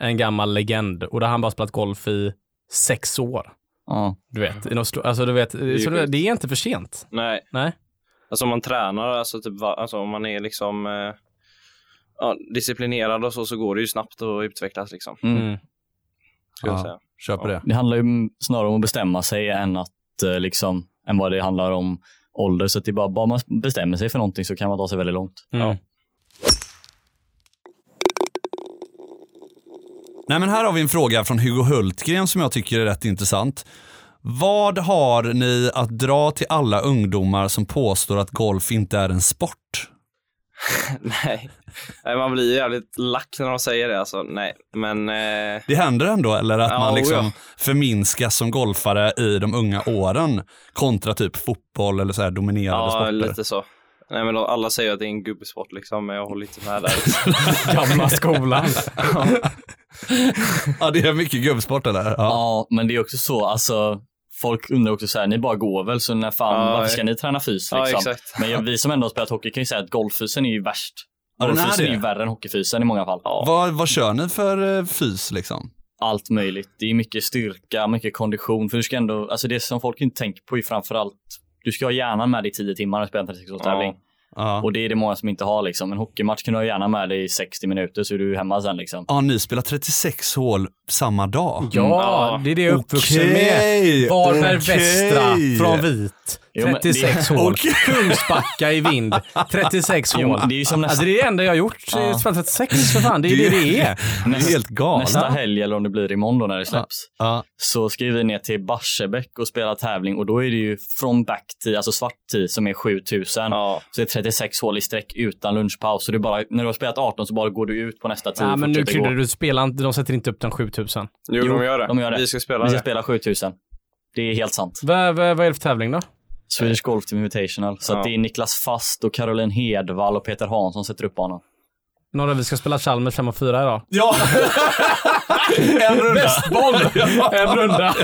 [SPEAKER 2] En gammal legend. Och där har han bara spelat golf i sex år.
[SPEAKER 3] Ja.
[SPEAKER 2] Du vet, i något slo- alltså du vet,
[SPEAKER 4] ju
[SPEAKER 2] det, så det,
[SPEAKER 4] sjukt.
[SPEAKER 2] det är inte för sent.
[SPEAKER 4] Nej.
[SPEAKER 2] Nej.
[SPEAKER 4] Alltså om man tränar, alltså, typ, va- alltså om man är liksom eh, ja, disciplinerad och så, så går det ju snabbt att utvecklas liksom.
[SPEAKER 3] Mm.
[SPEAKER 2] Mm.
[SPEAKER 4] Skulle
[SPEAKER 1] Ja.
[SPEAKER 4] jag säga.
[SPEAKER 1] Köper det.
[SPEAKER 3] Det handlar ju m- snarare om att bestämma sig än, att, eh, liksom, än vad det handlar om ålder. Så att det är bara, bara man bestämmer sig för någonting så kan man ta sig väldigt långt.
[SPEAKER 2] Ja.
[SPEAKER 1] Nej, men här har vi en fråga från Hugo Hultgren som jag tycker är rätt intressant. Vad har ni att dra till alla ungdomar som påstår att golf inte är en sport?
[SPEAKER 4] Nej. Nej, man blir ju jävligt lack när de säger det alltså. Nej, men eh,
[SPEAKER 1] Det händer ändå, eller att
[SPEAKER 4] Ja,
[SPEAKER 1] man liksom
[SPEAKER 4] oja.
[SPEAKER 1] förminskas som golfare i de unga åren kontra typ fotboll eller så här dominerande
[SPEAKER 4] ja,
[SPEAKER 1] sporter.
[SPEAKER 4] lite så. Nej, men de- alla säger att det är en gubbsport liksom, men jag håller inte med där. Liksom.
[SPEAKER 2] Gamla skolan.
[SPEAKER 1] Ja, det är mycket gubbsport eller? Ja.
[SPEAKER 3] Ja, men det är också så, alltså folk undrar också så här, ni bara går väl så när fan,
[SPEAKER 4] Ja,
[SPEAKER 3] varför
[SPEAKER 4] ja.
[SPEAKER 3] ska ni träna fys
[SPEAKER 4] Ja,
[SPEAKER 3] liksom?
[SPEAKER 4] exakt.
[SPEAKER 3] men jag, vi som ändå har spelat hockey kan ju säga att golffysen är ju värst.
[SPEAKER 1] Ja, den är
[SPEAKER 3] Golffysen är,
[SPEAKER 1] det.
[SPEAKER 3] ju värre än hockeyfysen i många fall.
[SPEAKER 1] Vad, vad kör ni för eh, fys liksom?
[SPEAKER 3] Allt möjligt. Det är mycket styrka, mycket kondition, för du ska ändå, alltså det som folk inte tänker på är framförallt, du ska ha hjärnan med dig i 10 timmar och spela en 36 års tävling.
[SPEAKER 1] Ja.
[SPEAKER 3] Och det är det många som inte har liksom. En hockeymatch kan du ha hjärnan med dig i 60 minuter så är du hemma sen liksom.
[SPEAKER 1] ja, ni spelar 36 hål samma dag.
[SPEAKER 2] Ja,
[SPEAKER 4] Ja.
[SPEAKER 2] det är det jag är uppvuxen med. Varberg Västra från Vit.
[SPEAKER 3] Jo, men det-
[SPEAKER 2] 36 hål.
[SPEAKER 1] Okej.
[SPEAKER 2] Kungsbacka i vind. 36
[SPEAKER 3] Jo,
[SPEAKER 2] hål.
[SPEAKER 3] men det är ju som nästa-
[SPEAKER 2] Alltså det är det enda jag har gjort.
[SPEAKER 3] Ja.
[SPEAKER 2] Ja. 36 för fan, det är ju det det är.
[SPEAKER 1] Det är
[SPEAKER 3] Nästa-
[SPEAKER 1] helt galet.
[SPEAKER 3] Nästa helg eller om det blir imorgon då när det släpps.
[SPEAKER 1] Ja.
[SPEAKER 3] så ska vi ner till Barsebäck och spela tävling och då är det ju från back tee, alltså svart tee som är 7000.
[SPEAKER 4] Ja.
[SPEAKER 3] Så det är 36 hål i sträck utan lunchpaus. Så det är bara, när du har spelat 18 så bara går du ut på nästa tid
[SPEAKER 2] Ja,
[SPEAKER 3] och
[SPEAKER 2] men nu
[SPEAKER 3] fortsätter
[SPEAKER 2] kryddar
[SPEAKER 3] gå.
[SPEAKER 2] du. Spela inte, de sätter inte upp den 7000.
[SPEAKER 4] Jo,
[SPEAKER 3] Jo,
[SPEAKER 4] de, gör det.
[SPEAKER 3] de gör det.
[SPEAKER 4] Vi ska spela
[SPEAKER 3] Vi ska
[SPEAKER 4] det.
[SPEAKER 3] spela 7000. Det är helt sant.
[SPEAKER 2] Vad vad- vad är det för tävling då?
[SPEAKER 3] Swedish Golf Team Invitational. Så
[SPEAKER 4] Ja.
[SPEAKER 3] att det är Niklas Fast och Caroline Hedvall och Peter Hansson sätter upp banan.
[SPEAKER 2] Några vi ska spela Chalmers 5 och 4 idag.
[SPEAKER 1] Ja. en runda.
[SPEAKER 2] En runda.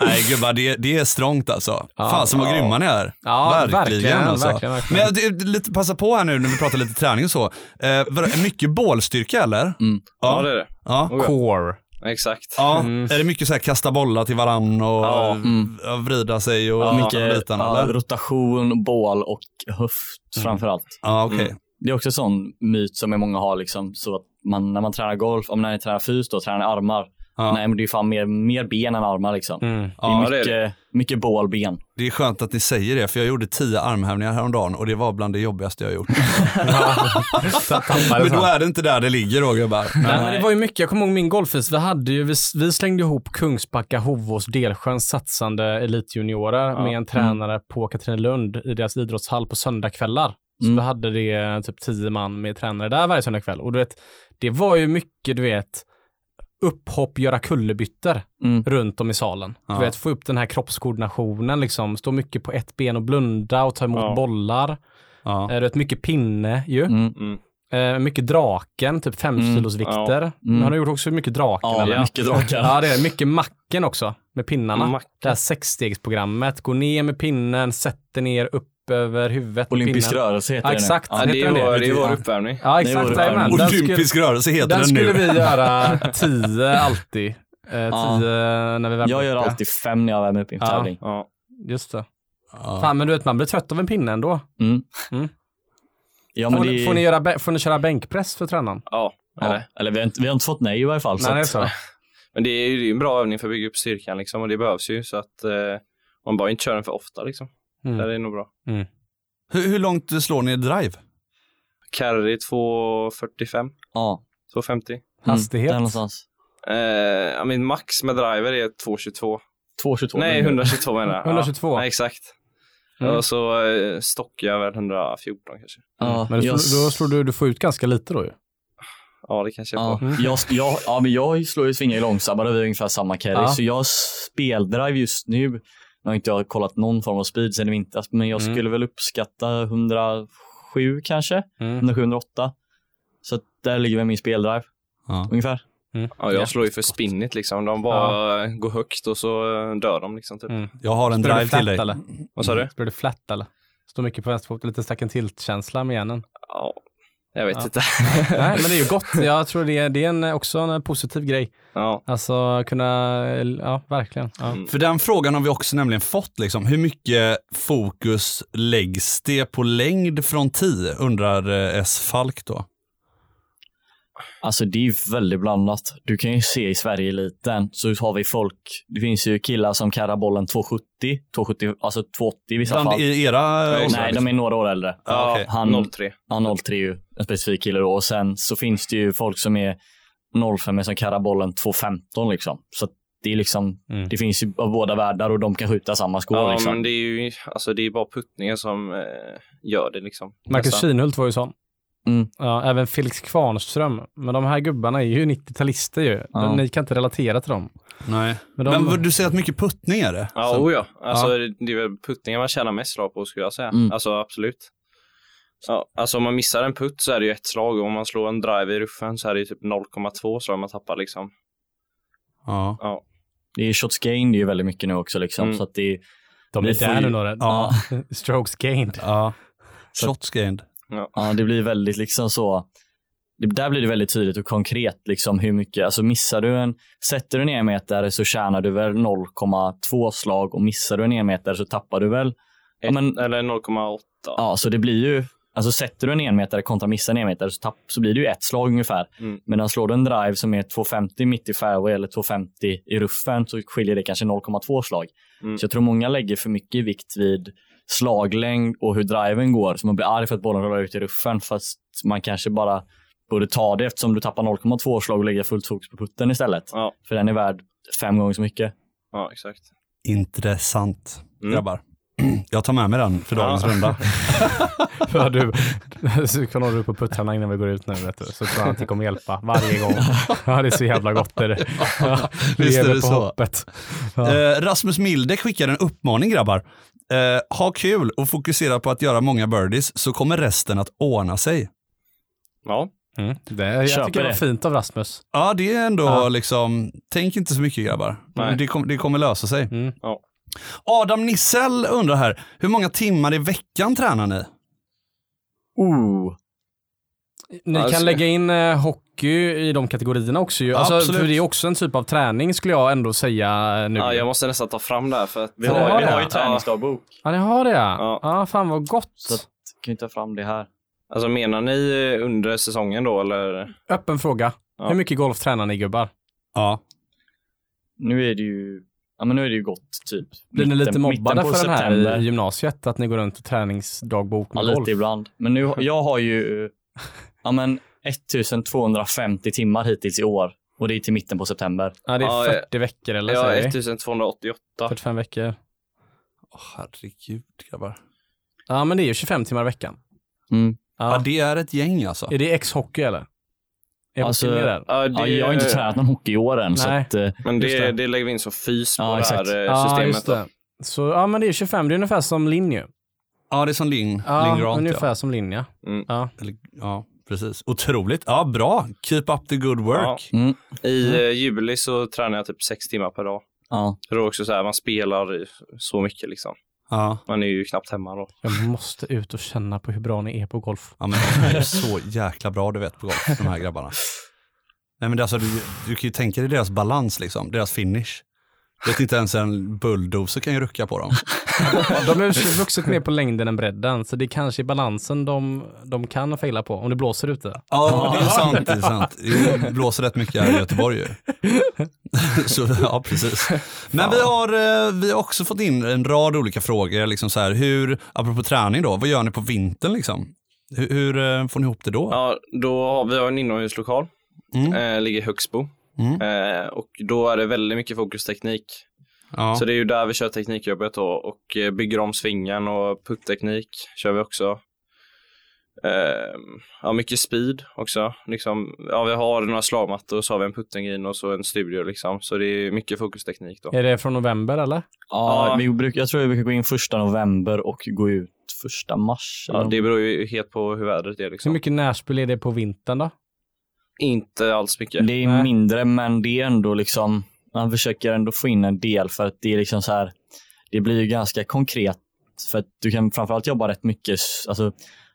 [SPEAKER 1] Nej gubbar, det, det är strångt alltså. Fan som vad grymma ni är.
[SPEAKER 2] Ja, verkligen,
[SPEAKER 1] alltså.
[SPEAKER 2] verkligen, verkligen.
[SPEAKER 1] Men jag, det- lite, passa på här nu när vi pratar lite träning och så. Eh, var- mycket bålstyrka eller?
[SPEAKER 4] Ja, det är det.
[SPEAKER 1] Ja.
[SPEAKER 2] Oh, Core. Mm.
[SPEAKER 4] Exakt.
[SPEAKER 1] ja. Är det mycket så här kasta bollar till varann och
[SPEAKER 4] Ja,
[SPEAKER 1] eh, vrida sig och de
[SPEAKER 3] Mycket
[SPEAKER 1] bitarna
[SPEAKER 3] ja,
[SPEAKER 1] eller?
[SPEAKER 3] rotation, bål och höft framförallt.
[SPEAKER 1] Ja, okej.
[SPEAKER 2] Mm.
[SPEAKER 3] Det är också en sån myt som många har liksom, så att man, när man tränar golf, om när ni tränar fys då, tränar ni armar.
[SPEAKER 1] Ja.
[SPEAKER 3] Nej men det är fan mer, mer ben än armar liksom.
[SPEAKER 2] Mm.
[SPEAKER 3] Det är
[SPEAKER 1] Ja,
[SPEAKER 4] det är
[SPEAKER 3] mycket, mycket bålben.
[SPEAKER 1] Det är skönt att ni säger det, för jag gjorde tio armhävningar häromdagen och det var bland det jobbigaste jag gjort. Men då är det inte där det ligger då gubbar.
[SPEAKER 2] Nej, men det var ju mycket. Jag kommer ihåg min golffis. Vi, hade ju, vi, vi slängde ihop Kungsbacka, Hovås, Delsjöns satsande elitjuniorer med en tränare på Katrinelund i deras idrottshall på söndagkvällar. Så
[SPEAKER 3] Mm.
[SPEAKER 2] vi hade det typ tio man med tränare där varje söndagkväll. Och du vet, det var ju mycket, du vet, upphopp, göra kullerbyttor
[SPEAKER 3] Mm.
[SPEAKER 2] runt om i salen.
[SPEAKER 1] Ja.
[SPEAKER 2] Du vet, få upp den här kroppskoordinationen liksom. Stå mycket på ett ben och blunda och ta emot
[SPEAKER 4] Ja.
[SPEAKER 2] bollar.
[SPEAKER 1] Ja.
[SPEAKER 2] Eh, Du vet, mycket pinne ju.
[SPEAKER 3] Mm.
[SPEAKER 4] Mm.
[SPEAKER 2] Eh, mycket draken, typ femkilosvikter.
[SPEAKER 3] Mm.
[SPEAKER 2] Har du gjort också mycket draken?
[SPEAKER 3] Ja,
[SPEAKER 2] eller?
[SPEAKER 3] mycket drakar.
[SPEAKER 2] Ja, det är det. mycket macken också med pinnarna.
[SPEAKER 4] Macken.
[SPEAKER 2] Det här sexstegsprogrammet. Gå ner med pinnen, sätter ner upp över huvudet. med
[SPEAKER 3] Olympisk
[SPEAKER 2] pinnen.
[SPEAKER 3] rörelse heter
[SPEAKER 2] Ja,
[SPEAKER 3] den.
[SPEAKER 2] exakt.
[SPEAKER 4] Ja, det, är
[SPEAKER 2] Heter den
[SPEAKER 4] vår,
[SPEAKER 2] det?
[SPEAKER 4] det är vår uppvärmning.
[SPEAKER 2] Ja,
[SPEAKER 3] Det
[SPEAKER 2] exakt.
[SPEAKER 3] vore fan-
[SPEAKER 2] jajamän. Den skulle,
[SPEAKER 1] Olympisk rörelse heter
[SPEAKER 2] den
[SPEAKER 1] den
[SPEAKER 2] skulle
[SPEAKER 1] nu.
[SPEAKER 2] vi göra tio alltid. Eh, tio
[SPEAKER 3] Ja.
[SPEAKER 2] när vi värmer
[SPEAKER 3] Jag
[SPEAKER 2] upp,
[SPEAKER 3] gör
[SPEAKER 2] ja.
[SPEAKER 3] alltid fem när jag värmer upp i en
[SPEAKER 2] Ja.
[SPEAKER 3] tävling.
[SPEAKER 4] Ja.
[SPEAKER 2] Just det.
[SPEAKER 1] Ja.
[SPEAKER 2] Fan, men du vet, man blir trött av en pinne ändå.
[SPEAKER 3] Mm.
[SPEAKER 2] Mm.
[SPEAKER 3] Ja,
[SPEAKER 2] Får,
[SPEAKER 3] men det,
[SPEAKER 2] ni, får, ni göra, bä- får ni köra bänkpress för tränaren?
[SPEAKER 4] ja.
[SPEAKER 3] ja.
[SPEAKER 4] Eller?
[SPEAKER 3] Eller vi har, inte, vi har inte fått nej i varje fall. så
[SPEAKER 2] Nej, det är så.
[SPEAKER 3] att-
[SPEAKER 4] Men det är ju det är ju en bra övning för att bygga upp styrkan liksom, och det behövs ju så att eh, man bara inte kör den för ofta liksom.
[SPEAKER 2] Mm.
[SPEAKER 4] Det är nog bra.
[SPEAKER 1] Hur, hur långt slår ni i drive?
[SPEAKER 4] Carry 2.45,
[SPEAKER 3] Ja.
[SPEAKER 4] 2.50.
[SPEAKER 2] Hastighet.
[SPEAKER 3] Mm. Där någonstans.
[SPEAKER 4] Eh, ja, min max med driver är 2.22.
[SPEAKER 3] 2,22.
[SPEAKER 4] Nej, 122 menar jag.
[SPEAKER 2] 122.
[SPEAKER 4] Ja, nej, exakt.
[SPEAKER 2] Mm.
[SPEAKER 4] Och så eh, stockar jag väl 114 kanske.
[SPEAKER 3] Ja,
[SPEAKER 2] Men då,
[SPEAKER 3] jag-
[SPEAKER 2] slår- då slår du, du får ut ganska lite då ju.
[SPEAKER 4] Ja, det kanske jag
[SPEAKER 3] Ja,
[SPEAKER 4] får.
[SPEAKER 2] Mm.
[SPEAKER 3] jag, jag, ja, men jag slår ju svingar långsammare, vi har ungefär samma carry,
[SPEAKER 2] Ja.
[SPEAKER 3] så jag speldrive just nu Nu har inte jag kollat någon form av speed sen i vintras, men jag
[SPEAKER 2] Mm.
[SPEAKER 3] skulle väl uppskatta 107 kanske,
[SPEAKER 2] Mm.
[SPEAKER 3] 107-108. Så att där ligger väl min speldrive
[SPEAKER 1] Ja.
[SPEAKER 3] ungefär.
[SPEAKER 4] Ja, jag slår ju för spinnigt liksom. De bara eh, går högt och så eh, dör de liksom. Typ.
[SPEAKER 2] Mm.
[SPEAKER 1] Jag har en
[SPEAKER 2] Spelar
[SPEAKER 1] drive
[SPEAKER 2] du flat
[SPEAKER 1] till dig.
[SPEAKER 2] eller?
[SPEAKER 4] Vad sa du?
[SPEAKER 2] Spelar du flat eller? Står mycket på vänsterfot, lite stack en tilt-känsla med hjärnan.
[SPEAKER 4] Ja, jag vet
[SPEAKER 2] Ja.
[SPEAKER 4] inte.
[SPEAKER 2] Nej, men det är ju gott. Jag tror det är, det är en, också en positiv grej.
[SPEAKER 4] ja.
[SPEAKER 2] Alltså kunna, ja verkligen. Ja.
[SPEAKER 4] Mm.
[SPEAKER 1] För den frågan har vi också nämligen fått. Liksom. Hur mycket fokus läggs det på längd från 10? Undrar eh, S. Falk då.
[SPEAKER 3] Alltså det är ju väldigt blandat. Du kan ju se i Sverige-eliten så har vi folk, det finns ju killar som karrar bollen 270, 270 alltså 280 i vissa
[SPEAKER 1] Bland
[SPEAKER 3] fall.
[SPEAKER 1] i era eh,
[SPEAKER 4] Nej,
[SPEAKER 1] åldrar?
[SPEAKER 3] Nej, de är några år äldre.
[SPEAKER 1] Ja, okej.
[SPEAKER 3] Han-
[SPEAKER 4] 03.
[SPEAKER 3] Ja, 03 är ju en specifik kille då. Och sen så finns det ju folk som är 05 som karrar bollen 2.15 liksom. Så att det är liksom,
[SPEAKER 2] Mm.
[SPEAKER 3] det finns ju av båda världar och de kan skjuta samma skor
[SPEAKER 4] Ja,
[SPEAKER 3] liksom.
[SPEAKER 4] men det är ju alltså, det är bara puttningen som eh, gör det liksom.
[SPEAKER 2] Marcus
[SPEAKER 4] Nästan.
[SPEAKER 2] Kinhult var ju sån.
[SPEAKER 3] Mm.
[SPEAKER 2] Ja, även Felix Kvarnström. Men de här gubbarna är ju 90-talister ju.
[SPEAKER 3] Ja.
[SPEAKER 2] Ni kan inte relatera till dem.
[SPEAKER 1] Nej.
[SPEAKER 2] Men de,
[SPEAKER 1] Men vad- du säger att mycket puttning är det?
[SPEAKER 4] Ja,
[SPEAKER 1] Så-
[SPEAKER 4] o ja. Alltså, Det är väl puttningen man tjänar mest slag på skulle jag säga.
[SPEAKER 3] Mm.
[SPEAKER 4] Alltså absolut. Ja, alltså om man missar en putt så är det ju ett slag och om man slår en drive i ruffen så är det ju typ 0,2 slag man tappar liksom.
[SPEAKER 1] ja.
[SPEAKER 3] Det är shots gain, det är ju väldigt mycket nu också liksom.
[SPEAKER 4] Mm.
[SPEAKER 3] Så att det är,
[SPEAKER 2] de
[SPEAKER 3] vi
[SPEAKER 2] är
[SPEAKER 3] får
[SPEAKER 2] där
[SPEAKER 3] ju-
[SPEAKER 2] nu några.
[SPEAKER 1] Ja.
[SPEAKER 2] Strokes gained.
[SPEAKER 1] ja. Shots gained.
[SPEAKER 3] ja, det blir väldigt liksom så. Det, där blir det väldigt tydligt och konkret liksom hur mycket, alltså missar du en, sätter du en enmeter så tjänar du väl 0,2 slag och missar du en enmeter så tappar du väl Ja,
[SPEAKER 4] Ett-
[SPEAKER 3] men-
[SPEAKER 4] Eller 0,8.
[SPEAKER 3] Ja, så det blir ju... Alltså sätter du en enmetare kontra missar en enmetare så, tapp, så blir det ju ett slag ungefär.
[SPEAKER 4] Mm.
[SPEAKER 3] Men när slår du en drive som är 2,50 mitt i fairway eller 2,50 i ruffen så skiljer det kanske 0,2 slag.
[SPEAKER 4] Mm.
[SPEAKER 3] Så jag tror många lägger för mycket vikt vid slaglängd och hur driven går. Så man blir arg för att bollen rullar ut i ruffen fast man kanske bara borde ta det eftersom du tappar 0,2 slag och lägga fullt fokus på putten istället.
[SPEAKER 4] Ja.
[SPEAKER 3] För den är värd fem gånger så mycket.
[SPEAKER 4] Ja, exakt.
[SPEAKER 1] Intressant,
[SPEAKER 4] Mm.
[SPEAKER 1] grabbar. Jag tar med mig den för dagens
[SPEAKER 4] Ja.
[SPEAKER 1] runda.
[SPEAKER 2] Ja, du, så kollar du på puttarna innan vi går ut nu, vet du. Så tror jag att det kommer hjälpa varje gång. Ja, det är så jävla gott. Är det. Ja,
[SPEAKER 1] Visst är
[SPEAKER 2] lever
[SPEAKER 1] det
[SPEAKER 2] på
[SPEAKER 1] så.
[SPEAKER 2] hoppet. Ja.
[SPEAKER 1] Eh, Rasmus Milde skickar en uppmaning grabbar. Eh, ha kul och fokusera på att göra många birdies så kommer resten att ordna sig.
[SPEAKER 4] Ja,
[SPEAKER 2] Mm. Det, jag
[SPEAKER 3] Köper
[SPEAKER 2] tycker det var
[SPEAKER 3] det.
[SPEAKER 2] fint av Rasmus.
[SPEAKER 1] Ja, det är ändå
[SPEAKER 2] Ja.
[SPEAKER 1] liksom, tänk inte så mycket grabbar.
[SPEAKER 4] Nej.
[SPEAKER 1] Det, kom, det kommer lösa sig.
[SPEAKER 2] Mm.
[SPEAKER 4] Ja.
[SPEAKER 1] Adam Nissell undrar här, hur många timmar i veckan tränar ni?
[SPEAKER 3] Ooh.
[SPEAKER 2] Ni
[SPEAKER 4] Alltså-
[SPEAKER 2] kan lägga in eh, hockey i de kategorierna också ju. Alltså,
[SPEAKER 1] Absolut.
[SPEAKER 2] för det är också en typ av träning skulle jag ändå säga eh, nu.
[SPEAKER 4] ja jag måste nästan ta fram det här för att...
[SPEAKER 3] Vi
[SPEAKER 2] Ja,
[SPEAKER 3] har,
[SPEAKER 2] det
[SPEAKER 3] vi
[SPEAKER 2] har
[SPEAKER 3] har ju
[SPEAKER 2] jag.
[SPEAKER 3] träningsdagbok.
[SPEAKER 2] Ja, ni har det ja.
[SPEAKER 4] Ja.
[SPEAKER 2] Ja, fan vad gott.
[SPEAKER 3] Så att- Kan ju ta fram det här.
[SPEAKER 4] Alltså menar ni eh, under säsongen då eller?
[SPEAKER 2] Öppen fråga.
[SPEAKER 4] Ja.
[SPEAKER 2] Hur mycket golf tränar ni gubbar?
[SPEAKER 1] Ja.
[SPEAKER 3] Nu är det ju, ja men nu är det ju gott typ.
[SPEAKER 2] Blir ni
[SPEAKER 3] Mitten-
[SPEAKER 2] lite mobbade
[SPEAKER 3] mitten
[SPEAKER 2] för
[SPEAKER 3] på
[SPEAKER 2] den här
[SPEAKER 3] september.
[SPEAKER 2] i gymnasiet? Att ni går runt och träningsdagbok
[SPEAKER 3] Ja,
[SPEAKER 2] med
[SPEAKER 3] lite
[SPEAKER 2] golf?
[SPEAKER 3] ibland. Men nu, jag har ju, ja men 1250 timmar hittills i år. Och det är till mitten på september.
[SPEAKER 2] Ja, det är
[SPEAKER 4] Ja,
[SPEAKER 2] 40 veckor eller
[SPEAKER 4] Ja,
[SPEAKER 2] säger vi.
[SPEAKER 4] 1288.
[SPEAKER 2] 45 veckor.
[SPEAKER 1] Åh, herregud grabbar.
[SPEAKER 2] Ja, men det är ju 25 timmar i veckan.
[SPEAKER 3] Mm.
[SPEAKER 1] Ja.
[SPEAKER 2] Ja.
[SPEAKER 1] det är ett gäng alltså.
[SPEAKER 2] Är det ex-hockey eller? Är alltså,
[SPEAKER 3] Alltså-
[SPEAKER 2] hockeyn med där?
[SPEAKER 4] Ja,
[SPEAKER 3] Ja, jag har inte tränat någon hockey i år än. Så
[SPEAKER 2] Nej.
[SPEAKER 3] att, eh,
[SPEAKER 4] Men
[SPEAKER 2] Just
[SPEAKER 4] det,
[SPEAKER 2] det.
[SPEAKER 4] det lägger vi in som fys på
[SPEAKER 3] Ja,
[SPEAKER 4] det
[SPEAKER 3] exakt.
[SPEAKER 4] här eh,
[SPEAKER 2] Ja,
[SPEAKER 4] systemet.
[SPEAKER 2] just
[SPEAKER 4] då.
[SPEAKER 2] det. Så, ja, men det är 25. Det är ungefär som linje.
[SPEAKER 1] Ja, det är som Lin,
[SPEAKER 2] Ja,
[SPEAKER 1] Lin Grant.
[SPEAKER 2] ungefär
[SPEAKER 1] Ja.
[SPEAKER 2] som linje.
[SPEAKER 1] Eller, ja, precis. Otroligt. Ja, bra. Keep up the good work.
[SPEAKER 3] mm,
[SPEAKER 4] I eh, juli så tränar jag typ sex timmar per dag.
[SPEAKER 3] ja.
[SPEAKER 4] För då är det också så här, man spelar i så mycket liksom.
[SPEAKER 1] Ja.
[SPEAKER 4] Man är ju knappt hemma då.
[SPEAKER 2] Jag måste ut och känna på hur bra ni är på golf.
[SPEAKER 1] Ja men de är så jäkla bra du vet på golf, de här grabbarna. Nej men det är alltså, du, du kan ju tänka dig deras balans liksom, deras finish. Vet inte ens en bulldozer kan ju rucka på dem.
[SPEAKER 2] De har vuxit mer på längden än bredden, så det är kanske är balansen de, de kan fejla på om det blåser ute.
[SPEAKER 1] Ja det är sant, det är sant. Det blåser rätt mycket här i Göteborg ju. Så ja precis. Men vi har, eh, vi har också fått in en rad olika frågor, liksom så här, hur, apropå träning då, vad gör ni på vintern liksom? Hur, hur eh, får ni ihop det då?
[SPEAKER 4] Ja, då har vi har en inomhuslokal.
[SPEAKER 1] Mm.
[SPEAKER 4] Eh, ligger i Högsbo.
[SPEAKER 1] Mm.
[SPEAKER 4] Eh, och då är det väldigt mycket fokus teknik.
[SPEAKER 1] Ja.
[SPEAKER 4] Så det är ju där vi kör teknikjobbet då och eh, bygger om svingen och puttteknik kör vi också. Ehm, ja, mycket speed också. Liksom, ja, vi har några slagmattor, så har vi en puttengrin och så en studio. Liksom. Så det är mycket fokusteknik då.
[SPEAKER 2] Är det från november eller?
[SPEAKER 4] Ja.
[SPEAKER 3] Ja, Vi bruk, jag tror vi brukar gå in första november och gå ut första mars.
[SPEAKER 4] Ja,
[SPEAKER 3] eller
[SPEAKER 4] det beror ju helt på hur vädret är.
[SPEAKER 2] Hur
[SPEAKER 4] Liksom.
[SPEAKER 2] mycket närspel är det på vintern då?
[SPEAKER 4] Inte alls mycket.
[SPEAKER 3] Det är
[SPEAKER 2] Nej.
[SPEAKER 3] mindre, men det är ändå liksom, man försöker ändå få in en del för att det är liksom så här, det blir ju ganska konkret för att du kan framförallt jobba rätt mycket, s- alltså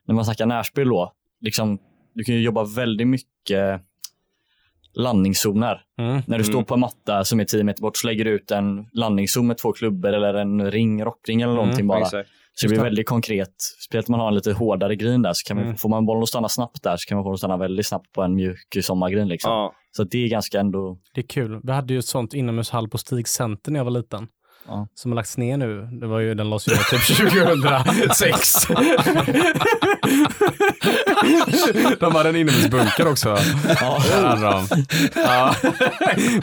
[SPEAKER 3] när man snackar närspel då, liksom, du kan ju jobba väldigt mycket landningszoner.
[SPEAKER 2] Mm.
[SPEAKER 3] När du
[SPEAKER 4] Mm.
[SPEAKER 3] står på en matta som är 10 meter bort så lägger du ut en landningszon med två klubbor eller en ring, rockring eller
[SPEAKER 2] Mm,
[SPEAKER 3] någonting bara.
[SPEAKER 4] Exakt.
[SPEAKER 3] Så det blir
[SPEAKER 2] Just det.
[SPEAKER 3] väldigt konkret. Speciellt om man har en lite hårdare green där så kan man,
[SPEAKER 2] Mm.
[SPEAKER 3] får man bollen att stanna snabbt där så kan man få den att stanna väldigt snabbt på en mjuk sommargreen. Liksom.
[SPEAKER 4] Ja.
[SPEAKER 3] Så att det är ganska ändå...
[SPEAKER 2] Det är kul. Vi hade ju ett sånt inomhushall på Stig Center när jag var liten.
[SPEAKER 3] Ja.
[SPEAKER 2] Som har lagts ner nu. Det var ju, den lades ju ner typ 2006. de hade en inomhusbunker också.
[SPEAKER 3] Ja,
[SPEAKER 2] Det hade de. Ja.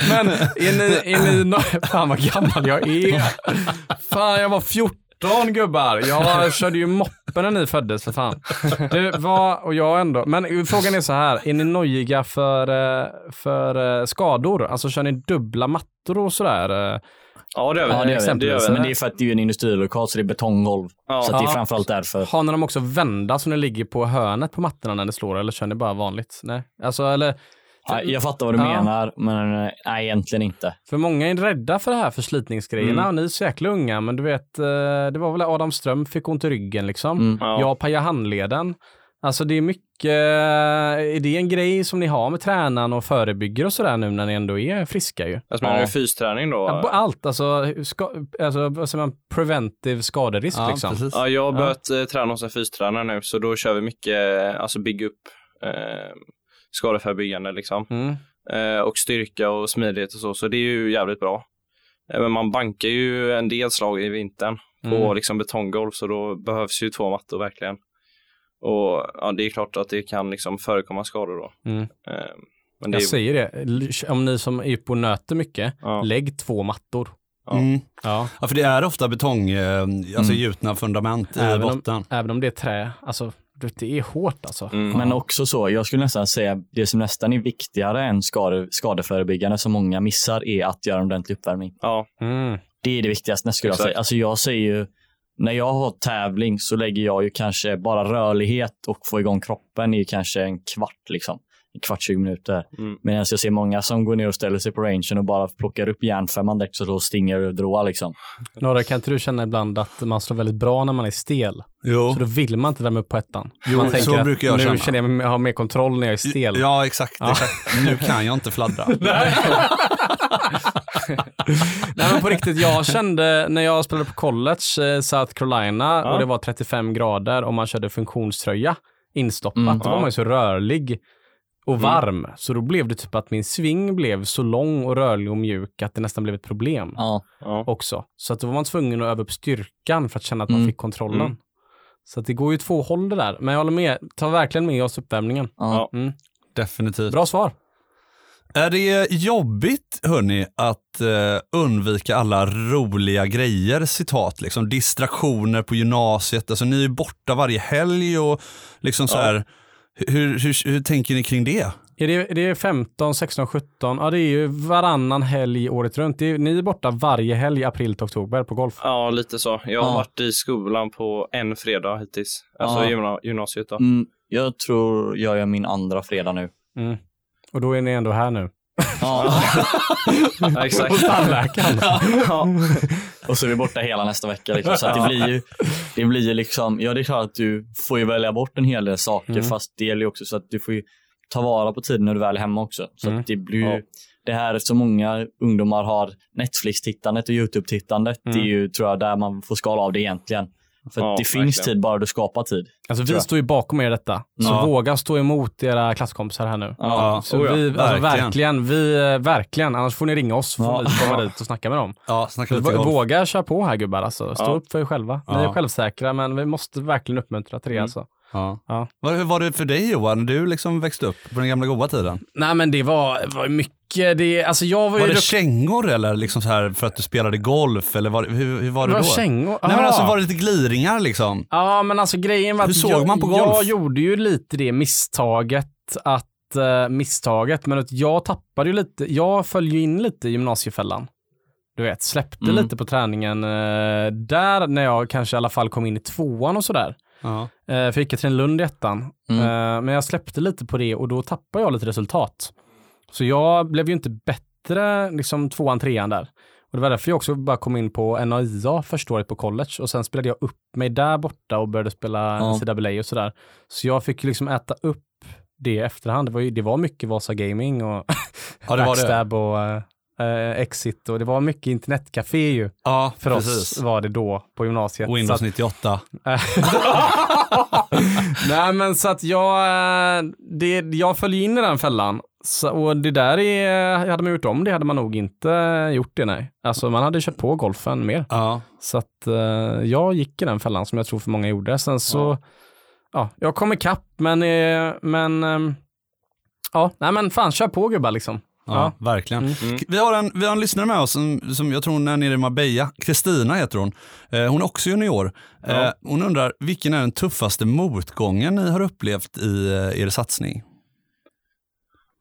[SPEAKER 2] Men är ni, är ni no- fan vad gammal jag är. Fan jag var 14 gubbar. Jag körde ju moppen när ni föddes för fan. Du, vad, och jag ändå. Men frågan är så här, är ni nojiga för, eh, för eh, skador? Alltså kör ni dubbla mattor och sådär? eh?
[SPEAKER 4] ja, det gör vi.
[SPEAKER 3] ja, det gör vi.
[SPEAKER 4] det gör vi.
[SPEAKER 3] Men det är för att det är en industrilokal så det är betonggolv.
[SPEAKER 4] Ja.
[SPEAKER 3] Så att det
[SPEAKER 2] Ja.
[SPEAKER 3] är framförallt därför.
[SPEAKER 2] Har ni dem också vända så ni ligger på hörnet på mattorna när ni slår eller kör ni bara vanligt? Nej, alltså eller
[SPEAKER 3] Ja, jag fattar vad du
[SPEAKER 2] Ja.
[SPEAKER 3] menar, men eh, nej, egentligen inte.
[SPEAKER 2] För många är rädda för det här förslitningsgrejerna
[SPEAKER 3] Mm.
[SPEAKER 2] och ni är så jäkla unga men du vet, eh, det var väl Adam Ström fick ont i ryggen liksom.
[SPEAKER 3] Mm.
[SPEAKER 4] Ja.
[SPEAKER 2] Jag pajade handleden. Alltså det är mycket, eh, är det en grej som ni har med tränaren och förebygger och sådär nu när ni ändå är friska ju?
[SPEAKER 4] Alltså, menar
[SPEAKER 3] Ja.
[SPEAKER 4] du fysträning då?
[SPEAKER 2] Ja, på Allt, alltså, ska, alltså vad säger man, preventive skaderisk liksom.
[SPEAKER 1] precis.
[SPEAKER 4] Ja, jag har börjat eh, träna hos en fystränare nu, så då kör vi mycket eh, alltså bygga upp eh, skadeförebyggande liksom.
[SPEAKER 2] Mm.
[SPEAKER 4] Eh, och styrka och smidighet och så, så det är ju jävligt bra. Eh, men man bankar ju en del slag i vintern på
[SPEAKER 2] Mm.
[SPEAKER 4] liksom betonggolv, så då behövs ju två mattor verkligen. Och ja, det är klart att det kan liksom förekomma skador då.
[SPEAKER 2] Mm.
[SPEAKER 4] Eh, men det
[SPEAKER 2] Jag
[SPEAKER 4] är,
[SPEAKER 2] säger det, L- om ni som är uppe och nöter mycket,
[SPEAKER 4] ja.
[SPEAKER 2] lägg två mattor.
[SPEAKER 4] Ja.
[SPEAKER 1] Mm.
[SPEAKER 2] Ja.
[SPEAKER 1] Ja, för det är ofta betong, eh, alltså
[SPEAKER 3] Mm.
[SPEAKER 1] gjutna fundament i
[SPEAKER 2] Även om-
[SPEAKER 1] botten.
[SPEAKER 2] Även om det är trä, alltså du vet, det är hårt alltså.
[SPEAKER 4] Mm.
[SPEAKER 3] Men också så, jag skulle nästan säga det som nästan är viktigare än skade, skadeförebyggande som många missar är att göra en ordentlig uppvärmning.
[SPEAKER 4] ja.
[SPEAKER 2] Mm.
[SPEAKER 3] Det är det viktigaste skulle jag
[SPEAKER 4] Exakt.
[SPEAKER 3] säga. Alltså jag säger ju, när jag har tävling så lägger jag ju kanske bara rörlighet och få igång kroppen i kanske en kvart liksom. En kvart, 20 minuter.
[SPEAKER 4] Mm.
[SPEAKER 3] Medan jag ser många som går ner och ställer sig på rangen och bara plockar upp järnfemman direkt så då stinger och dråar liksom.
[SPEAKER 2] Norra, kan inte du känna ibland att man slår väldigt bra när man är stel?
[SPEAKER 1] Jo,
[SPEAKER 2] Så då vill man inte värma upp på ettan. man
[SPEAKER 1] så
[SPEAKER 2] att
[SPEAKER 1] brukar jag
[SPEAKER 2] nu
[SPEAKER 1] känna.
[SPEAKER 2] känner jag mig ha mer kontroll när jag är stel.
[SPEAKER 1] ja exakt. exakt. Nu kan jag inte fladdra.
[SPEAKER 2] Nej men på riktigt, jag kände när jag spelade på college, eh, South Carolina,
[SPEAKER 4] Ja.
[SPEAKER 2] och det var 35 grader och man körde funktionströja instoppat,
[SPEAKER 3] Mm.
[SPEAKER 2] då var
[SPEAKER 4] Ja.
[SPEAKER 2] man ju så rörlig
[SPEAKER 1] Mm.
[SPEAKER 2] och varm. Så då blev det typ att min sving blev så lång och rörlig och mjuk att det nästan blev ett problem
[SPEAKER 3] Ja.
[SPEAKER 4] Ja.
[SPEAKER 2] också. Så att då var man tvungen att öva upp styrkan för att känna att man
[SPEAKER 3] Mm.
[SPEAKER 2] fick kontrollen.
[SPEAKER 4] Mm.
[SPEAKER 2] Så att det går ju två håll det där. Men jag håller med, ta verkligen med oss uppvärmningen. Mm.
[SPEAKER 3] ja.
[SPEAKER 1] Definitivt.
[SPEAKER 2] Bra svar.
[SPEAKER 1] Är det jobbigt, hörni, att eh, undvika alla roliga grejer, citat, liksom distraktioner på gymnasiet? Alltså ni är ju borta varje helg och liksom så här, hur, hur, hur tänker ni kring det?
[SPEAKER 2] Är det, är det 15, 16, 17? Ja, det är ju varannan helg året runt. Det är, ni är borta varje helg, april till oktober på golf.
[SPEAKER 4] ja, lite så. Jag har
[SPEAKER 3] Ja.
[SPEAKER 4] varit i skolan på en fredag hittills. Alltså
[SPEAKER 3] Ja.
[SPEAKER 4] gymna- gymnasiet då.
[SPEAKER 3] Mm, jag tror jag gör min andra fredag nu.
[SPEAKER 2] Mm. Och då är ni ändå här nu.
[SPEAKER 3] Ja.
[SPEAKER 4] Ja, exakt.
[SPEAKER 2] Hos tandläkaren.
[SPEAKER 4] Ja.
[SPEAKER 3] Och så är vi borta hela nästa vecka. Liksom. Så att det blir ju, det blir ju liksom, ja det är klart att du får ju välja bort en hel del saker
[SPEAKER 2] Mm.
[SPEAKER 3] fast det gäller ju också så att du får ju ta vara på tiden när du väl är hemma också. Så
[SPEAKER 2] Mm.
[SPEAKER 3] att det blir ju,
[SPEAKER 4] Ja.
[SPEAKER 3] det här som många ungdomar har Netflix-tittandet och YouTube-tittandet,
[SPEAKER 2] Mm.
[SPEAKER 3] det är ju tror jag där man får skala av det egentligen. För
[SPEAKER 4] Ja,
[SPEAKER 3] att det finns
[SPEAKER 4] verkligen.
[SPEAKER 3] tid bara du skapar tid.
[SPEAKER 2] Alltså,
[SPEAKER 3] Tror
[SPEAKER 2] vi
[SPEAKER 3] jag.
[SPEAKER 2] står ju bakom er i detta. Så
[SPEAKER 1] Ja.
[SPEAKER 2] våga stå emot era klasskompisar här nu.
[SPEAKER 1] Ja.
[SPEAKER 2] Så
[SPEAKER 4] Oh ja,
[SPEAKER 2] vi, alltså,
[SPEAKER 1] verkligen.
[SPEAKER 2] verkligen. Vi, eh, verkligen. Annars får ni ringa oss så får
[SPEAKER 3] Ja.
[SPEAKER 2] vi komma dit och snacka med dem.
[SPEAKER 1] Ja, snacka lite
[SPEAKER 2] Vå-
[SPEAKER 1] golf.
[SPEAKER 2] Våga köra på här gubbar. Alltså. Stå
[SPEAKER 4] Ja.
[SPEAKER 2] upp för er själva. Ni
[SPEAKER 1] Ja.
[SPEAKER 2] är självsäkra men vi måste verkligen uppmuntra till det.
[SPEAKER 3] Mm.
[SPEAKER 2] Alltså.
[SPEAKER 1] Ja.
[SPEAKER 2] Ja.
[SPEAKER 1] Vad- Hur var det för dig Johan, när du liksom växte upp på den gamla goda tiden?
[SPEAKER 2] Nej men det var, var mycket, det, alltså jag var,
[SPEAKER 1] Var
[SPEAKER 2] ju...
[SPEAKER 1] det
[SPEAKER 2] dukt-
[SPEAKER 1] kängor eller liksom så här för att du spelade golf? Eller var, det- hur, hur var det
[SPEAKER 2] var
[SPEAKER 1] då?
[SPEAKER 2] kängor? Ah.
[SPEAKER 1] Nej men
[SPEAKER 2] Aha.
[SPEAKER 1] alltså var det lite gliringar liksom?
[SPEAKER 2] Ja, men alltså grejen var
[SPEAKER 1] Hur
[SPEAKER 2] att
[SPEAKER 1] såg
[SPEAKER 2] jag,
[SPEAKER 1] man på golf?
[SPEAKER 2] jag gjorde ju lite det misstaget att, eh, misstaget, men att jag tappade ju lite, jag föll ju in lite i gymnasiefällan. Du vet, släppte
[SPEAKER 3] Mm.
[SPEAKER 2] lite på träningen eh, där när jag kanske i alla fall kom in i tvåan och sådär.
[SPEAKER 1] Ja.
[SPEAKER 2] Eh, för jag gick i Trinlund i ettan.
[SPEAKER 3] Mm.
[SPEAKER 2] Eh, men jag släppte lite på det och då tappade jag lite resultat. Så jag blev ju inte bättre, liksom tvåan, trean där. Och det var därför jag också bara kom in på NAIA första året på college och sen spelade jag upp mig där borta och började spela
[SPEAKER 3] Ja.
[SPEAKER 2] NCAA och sådär. Så jag fick ju liksom äta upp det i efterhand. Det var, ju, det var mycket Vasa Gaming och
[SPEAKER 1] Ja, det var det.
[SPEAKER 2] Backstab och eh, eh, Exit och det var mycket internetcafé ju
[SPEAKER 1] Ja,
[SPEAKER 2] för
[SPEAKER 1] precis.
[SPEAKER 2] oss var det då på gymnasiet. Så att-
[SPEAKER 1] Windows 98.
[SPEAKER 2] Nej men så att jag, eh, det, jag föll ju in i den fällan. Så, och det där är, hade man gjort om det hade man nog inte gjort det nej. Alltså man hade kört på golfen mer.
[SPEAKER 1] Ja.
[SPEAKER 2] Så att eh, jag gick i den fällan som jag tror för många gjorde. Sen så, ja, jag kom ikapp men, eh, men, ehm, ja, nej men fan kör på gubbar liksom.
[SPEAKER 1] Ja,
[SPEAKER 2] Ja.
[SPEAKER 1] verkligen.
[SPEAKER 2] Mm.
[SPEAKER 4] Mm.
[SPEAKER 1] Vi, har en, vi har en lyssnare med oss som, som jag tror hon är nere i Marbella. Kristina heter hon. Eh, hon är också junior. Eh, hon undrar, vilken är den tuffaste motgången ni har upplevt i eh, er satsning?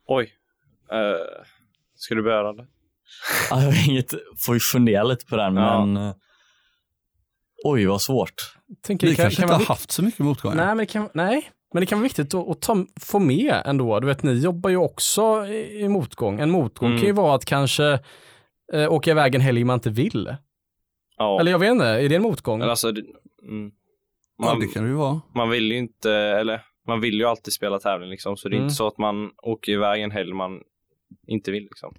[SPEAKER 4] Oj. Eh, ska du börja det?
[SPEAKER 3] Ja, jag har inget, får ju fundera lite på den,
[SPEAKER 4] Ja.
[SPEAKER 3] men eh, oj vad svårt.
[SPEAKER 2] Tänker,
[SPEAKER 1] Ni
[SPEAKER 2] det kan,
[SPEAKER 1] kanske
[SPEAKER 2] kan
[SPEAKER 1] inte
[SPEAKER 2] vara
[SPEAKER 1] har
[SPEAKER 2] vikt-
[SPEAKER 1] haft så mycket motgångar?
[SPEAKER 2] Nej, men det kan, nej, men det kan vara viktigt att, att ta, få med ändå. Du vet, ni jobbar ju också i, i motgång. En motgång
[SPEAKER 4] Mm.
[SPEAKER 2] kan ju vara att kanske eh, åka iväg en helg man inte vill.
[SPEAKER 4] Ja.
[SPEAKER 2] Eller jag vet inte, är det en motgång?
[SPEAKER 4] Eller alltså, det, mm.
[SPEAKER 1] Ja,
[SPEAKER 4] man,
[SPEAKER 1] det kan det ju vara.
[SPEAKER 4] man vill ju inte, eller man vill ju alltid spela tävling liksom. Så det är
[SPEAKER 2] Mm.
[SPEAKER 4] inte så att man åker iväg en helg man inte vill liksom.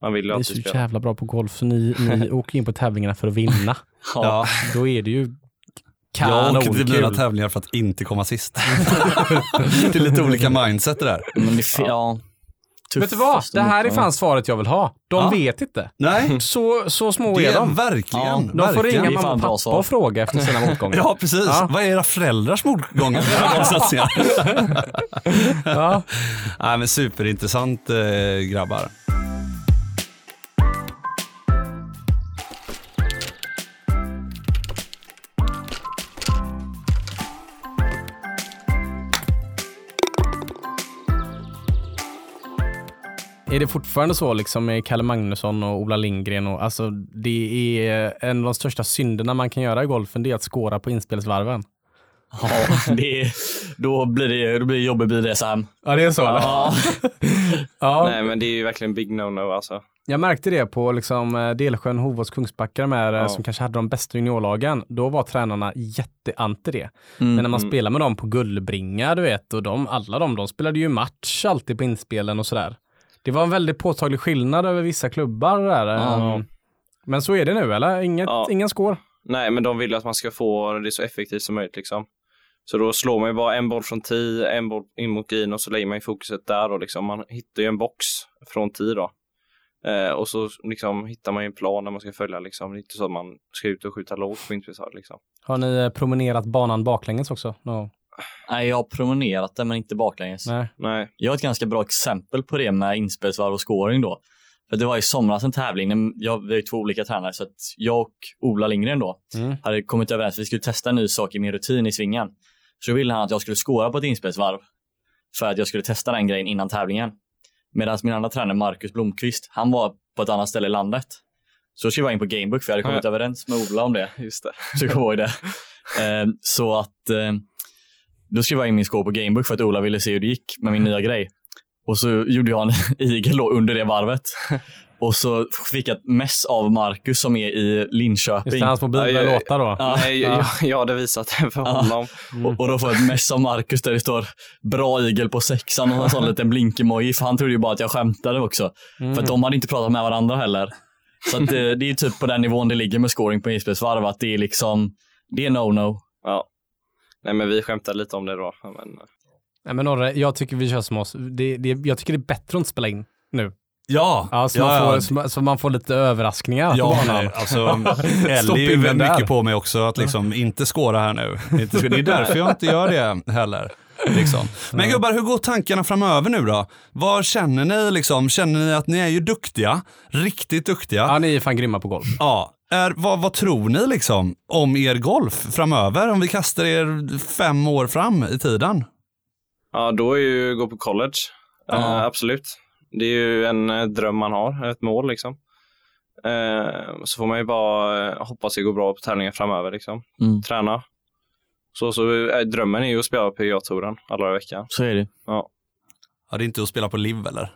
[SPEAKER 4] Man vill ju
[SPEAKER 2] Ni är
[SPEAKER 4] alltid
[SPEAKER 2] så
[SPEAKER 4] spela.
[SPEAKER 2] jävla bra på golf, så ni, ni åker in på tävlingarna för att vinna.
[SPEAKER 1] Ja.
[SPEAKER 2] Då är det ju
[SPEAKER 1] Jag åker till mina
[SPEAKER 2] kanonkul.
[SPEAKER 1] tävlingar för att inte komma sist. det är lite olika mindset det där.
[SPEAKER 3] Men det fi- ja.
[SPEAKER 2] Vet du vad?
[SPEAKER 3] Tuffaste
[SPEAKER 2] Det här är
[SPEAKER 3] motgången.
[SPEAKER 2] fan svaret jag vill ha. De
[SPEAKER 1] Ja.
[SPEAKER 2] vet inte.
[SPEAKER 1] Nej,
[SPEAKER 2] Så, Mm. så små
[SPEAKER 1] det
[SPEAKER 2] är
[SPEAKER 1] är
[SPEAKER 2] de.
[SPEAKER 1] verkligen.
[SPEAKER 3] Ja,
[SPEAKER 2] De får
[SPEAKER 1] verkligen.
[SPEAKER 2] ringa mamma
[SPEAKER 3] Det är fan
[SPEAKER 2] och
[SPEAKER 3] bra
[SPEAKER 2] pappa
[SPEAKER 3] svar.
[SPEAKER 2] och fråga efter sina motgångar.
[SPEAKER 1] Ja, precis.
[SPEAKER 2] Ja.
[SPEAKER 1] Vad är era föräldrars motgångar? i satsningar?
[SPEAKER 2] Ja.
[SPEAKER 1] Nej, men superintressant eh, grabbar.
[SPEAKER 2] Är det fortfarande så liksom med Kalle Magnusson och Ola Lindgren? Och, alltså, det är eh, en av de största synderna man kan göra i golfen, det är att skåra på inspelsvarven.
[SPEAKER 3] Ja, det är, då blir det, då blir det jobbig BDSM.
[SPEAKER 2] Ja, det är så
[SPEAKER 3] Ja.
[SPEAKER 2] Ja,
[SPEAKER 4] Nej men det är ju verkligen big no-no alltså.
[SPEAKER 2] jag märkte det på liksom, eh, Delsjön, Hovås, Kungsbacka, de här, eh,
[SPEAKER 4] Ja.
[SPEAKER 2] som kanske hade de bästa juniorlagen. Då var tränarna jätteanti det. Men när man
[SPEAKER 4] Mm.
[SPEAKER 2] spelar med dem på Gullbringa, du vet, och de, alla de, de spelade ju match alltid på inspelen och sådär. Det var en väldigt påtaglig skillnad över vissa klubbar där.
[SPEAKER 3] Ja.
[SPEAKER 2] eh, Men så är det nu, eller? Inget,
[SPEAKER 4] Ja.
[SPEAKER 2] Ingen skår?
[SPEAKER 4] Nej men de vill att man ska få det så effektivt som möjligt liksom. Så då slår man ju bara en boll från 10, en boll in mot green och så lägger man ju fokuset där och liksom man hittar ju en box från 10 då. Eh, och så liksom hittar man ju en plan när man ska följa liksom. Det är inte så att man ska ut och skjuta lågt på inspelningshörd liksom.
[SPEAKER 2] Har ni eh, promenerat banan baklänges också? No.
[SPEAKER 3] Nej, jag har promenerat den men inte baklänges.
[SPEAKER 2] Nej.
[SPEAKER 4] Nej.
[SPEAKER 3] Jag har ett ganska bra exempel på det med inspelsvarv och scoring då. För det var i somras en tävling, när jag, vi har ju två olika tränare, så att jag och Ola Lindgren då
[SPEAKER 2] Mm.
[SPEAKER 3] hade kommit överens att vi skulle testa en ny sak i min rutin i svingen. Så då ville han att jag skulle skåra på ett inspelsvarv för att jag skulle testa den grejen innan tävlingen. Medan min andra tränare Marcus Blomqvist, han var på ett annat ställe i landet. Så skrev jag in på Gamebook för jag hade kommit överens med Ola om det.
[SPEAKER 4] Just det.
[SPEAKER 3] Så jag kommer ihåg det. Eh, Så att eh, då skrev jag in min score på Gamebook för att Ola ville se hur det gick med min nya grej. Och så gjorde jag en igel då under det varvet. Och så fick jag ett mess av Marcus som är i
[SPEAKER 2] Just
[SPEAKER 3] Linköping.
[SPEAKER 2] det, hans mobil
[SPEAKER 4] Ja,
[SPEAKER 2] börjar
[SPEAKER 4] ja, ja.
[SPEAKER 2] låta då.
[SPEAKER 3] Ja.
[SPEAKER 4] Nej, jag, jag hade visat den för honom.
[SPEAKER 3] Och, och då får jag ett mess av Marcus där det står bra igel på sexan och en sån liten blink-emoji för han trodde ju bara att jag skämtade också.
[SPEAKER 2] Mm.
[SPEAKER 3] För att de hade inte pratat med varandra heller. Så att, eh, det är ju typ på den nivån det ligger med scoring på inspelsvarv att det är liksom, det är no-no.
[SPEAKER 4] Ja. Nej men vi skämtade lite om det då. Men, eh.
[SPEAKER 2] Nej, men Norre, jag tycker vi kör som oss. Det, det, jag tycker det är bättre att inte spela in nu.
[SPEAKER 5] Ja,
[SPEAKER 2] Ja, så, man, får, så, man, så man får lite överraskningar. på
[SPEAKER 5] Ja,
[SPEAKER 2] banan.
[SPEAKER 5] nej, alltså,
[SPEAKER 1] Stopp
[SPEAKER 5] Ellie är ju
[SPEAKER 1] in den
[SPEAKER 5] väldigt
[SPEAKER 1] där.
[SPEAKER 5] mycket på mig också att liksom inte skåra här nu. Inte skåra. Det är därför jag inte gör det heller. Liksom.
[SPEAKER 1] Men gubbar, hur går tankarna framöver nu då? Vad känner ni liksom? Känner ni att ni är ju duktiga? Riktigt duktiga?
[SPEAKER 2] Ja, ni är fan grymma på golf.
[SPEAKER 1] Ja. Är, vad, vad tror ni liksom om er golf framöver? Om vi kastar er fem år fram i tiden?
[SPEAKER 4] Ja, då är ju gå på college. Eh, absolut. Det är ju en eh, dröm man har, ett mål liksom. Eh, så får man ju bara eh, hoppas det går bra på tävlingar framöver liksom.
[SPEAKER 3] Mm.
[SPEAKER 4] Träna. Så, så eh, drömmen är ju att spela på PGA-touren alla dagar i veckan.
[SPEAKER 3] Så är det.
[SPEAKER 1] Ja, det är inte att spela på LIV eller?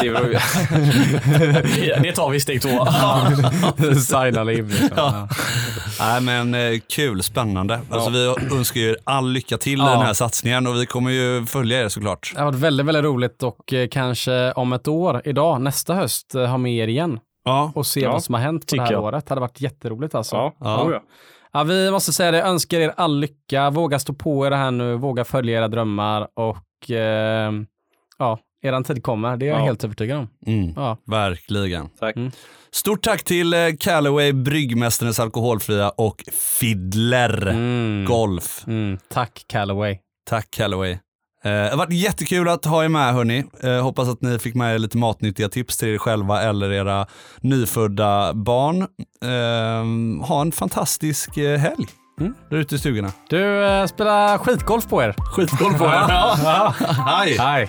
[SPEAKER 4] Det är väl-
[SPEAKER 3] Det tar vi i steg två.
[SPEAKER 2] Signa liv liksom. Ja.
[SPEAKER 1] Nej men eh, kul, spännande. Alltså, vi önskar er all lycka till i
[SPEAKER 2] Ja.
[SPEAKER 1] den här satsningen och vi kommer ju följa er såklart.
[SPEAKER 2] Det har varit väldigt, väldigt roligt och eh, kanske om ett år, idag, nästa höst, eh, ha med er igen
[SPEAKER 1] Ja.
[SPEAKER 2] och se
[SPEAKER 4] Ja,
[SPEAKER 2] vad som har hänt på det
[SPEAKER 3] tycker
[SPEAKER 2] här
[SPEAKER 3] jag.
[SPEAKER 2] året. Det hade varit jätteroligt alltså.
[SPEAKER 4] ja, Oh,
[SPEAKER 1] Ja.
[SPEAKER 4] ja.
[SPEAKER 2] Ja, vi måste säga det, önskar er all lycka, våga stå på er här nu, våga följa era drömmar och eh, ja, eran tid kommer, det är jag
[SPEAKER 4] Ja.
[SPEAKER 2] helt övertygad om.
[SPEAKER 1] Mm.
[SPEAKER 2] Ja.
[SPEAKER 1] Verkligen.
[SPEAKER 4] Tack.
[SPEAKER 2] Mm.
[SPEAKER 1] Stort tack till eh, Callaway, Bryggmästarens Alkoholfria och Fiddler
[SPEAKER 2] Mm.
[SPEAKER 1] Äh, Golf.
[SPEAKER 2] Mm. Tack Callaway.
[SPEAKER 1] Tack Callaway. Eh, Det har varit jättekul att ha er med hörni. Eh, Hoppas att ni fick med er lite matnyttiga tips till er själva eller era nyfödda barn. Eh, ha en fantastisk eh, helg
[SPEAKER 2] Mm.
[SPEAKER 1] där ute i stugorna.
[SPEAKER 2] Du, eh, spela skitgolf på er.
[SPEAKER 1] Skitgolv på er. Ja. Hej.
[SPEAKER 2] Hej.